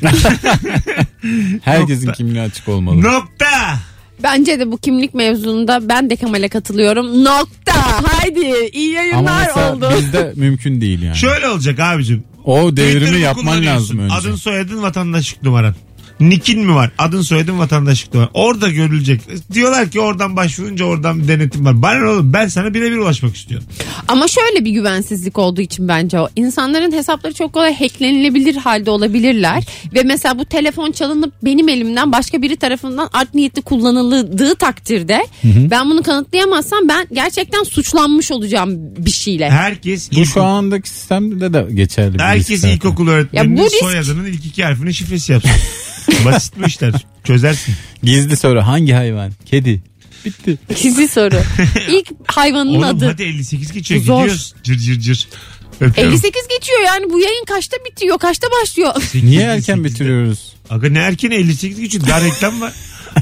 Speaker 4: herkesin
Speaker 2: Nokta.
Speaker 4: kimliği açık olmalı.
Speaker 2: Nokta.
Speaker 3: Bence de bu kimlik mevzunda ben de Kemal'e katılıyorum. Nokta. Haydi iyi
Speaker 4: Ama
Speaker 3: yayınlar
Speaker 4: mesela
Speaker 3: oldu.
Speaker 4: bizde mümkün değil yani.
Speaker 2: Şöyle olacak abicim.
Speaker 4: o devrimi
Speaker 2: Twitter'ı
Speaker 4: yapman
Speaker 2: kullanıyorsun.
Speaker 4: lazım önce.
Speaker 2: Adın soyadın vatandaşlık numaran. Nikin mi var? Adın soyadın vatandaşlık numaran. Orada görülecek. Diyorlar ki oradan başvurunca oradan bir denetim var. Bana ne oğlum ben sana birebir ulaşmak istiyorum.
Speaker 3: Ama şöyle bir güvensizlik olduğu için bence o. İnsanların hesapları çok kolay hacklenilebilir halde olabilirler. Ve mesela bu telefon çalınıp benim elimden başka biri tarafından art niyetli kullanıldığı takdirde ben bunu kanıtlayamazsam ben gerçekten suçlanmış olacağım bir şeyle.
Speaker 2: Herkes
Speaker 4: Bu şu andaki sistemde de geçerli. bir risk
Speaker 2: Herkes
Speaker 4: zaten.
Speaker 2: ilkokul öğretmeninin
Speaker 3: Ya bu risk-
Speaker 2: soyadının ilk iki harfini şifresi yapsın. Basit bu işler. Çözersin.
Speaker 4: Gizli soru hangi hayvan? Kedi. Bitti.
Speaker 3: Gizli soru. İlk hayvanın
Speaker 2: Oğlum
Speaker 3: adı.
Speaker 2: hadi 58 geçiyor.
Speaker 3: Zor.
Speaker 2: Gidiyoruz. Cır cır cır. Öpüyorum.
Speaker 3: 58 geçiyor yani bu yayın kaçta bitiyor kaçta başlıyor?
Speaker 4: Niye erken bitiriyoruz?
Speaker 2: Aga ne erken 58 geçiyor. Daha reklam var.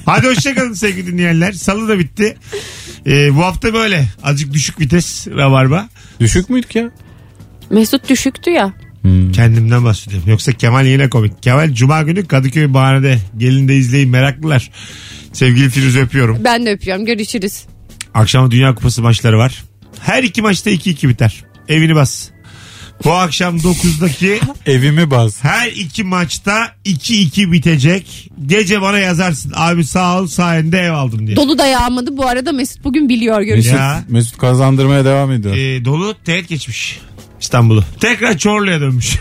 Speaker 2: Hadi hoşçakalın sevgili dinleyenler. Salı da bitti. Ee, bu hafta böyle. Azıcık düşük vites rabarba.
Speaker 4: Düşük müydük ya?
Speaker 3: Mesut düşüktü ya.
Speaker 2: Kendimden bahsediyorum. Yoksa Kemal yine komik. Kemal Cuma günü Kadıköy Bahane'de. Gelin de izleyin meraklılar. Sevgili Firuz öpüyorum.
Speaker 3: Ben de öpüyorum görüşürüz.
Speaker 2: Akşama Dünya Kupası maçları var. Her iki maçta 2-2 biter. Evini bas. Bu akşam 9'daki
Speaker 4: Evimi baz.
Speaker 2: her iki maçta 2-2 bitecek. Gece bana yazarsın. Abi sağ ol sayende ev aldım diye.
Speaker 3: Dolu da yağmadı bu arada Mesut bugün biliyor görüşürüz.
Speaker 4: Mesut,
Speaker 2: Ya.
Speaker 4: Mesut kazandırmaya devam ediyor.
Speaker 2: Ee, dolu teğet geçmiş İstanbul'u. Tekrar Çorlu'ya dönmüş.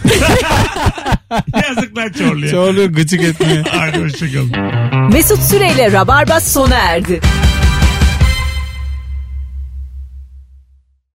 Speaker 2: Yazıklar Çorlu'ya.
Speaker 4: Çorlu'yu gıcık etmeye.
Speaker 2: Hadi hoşçakalın.
Speaker 1: Mesut Süreyle Rabarba sona erdi.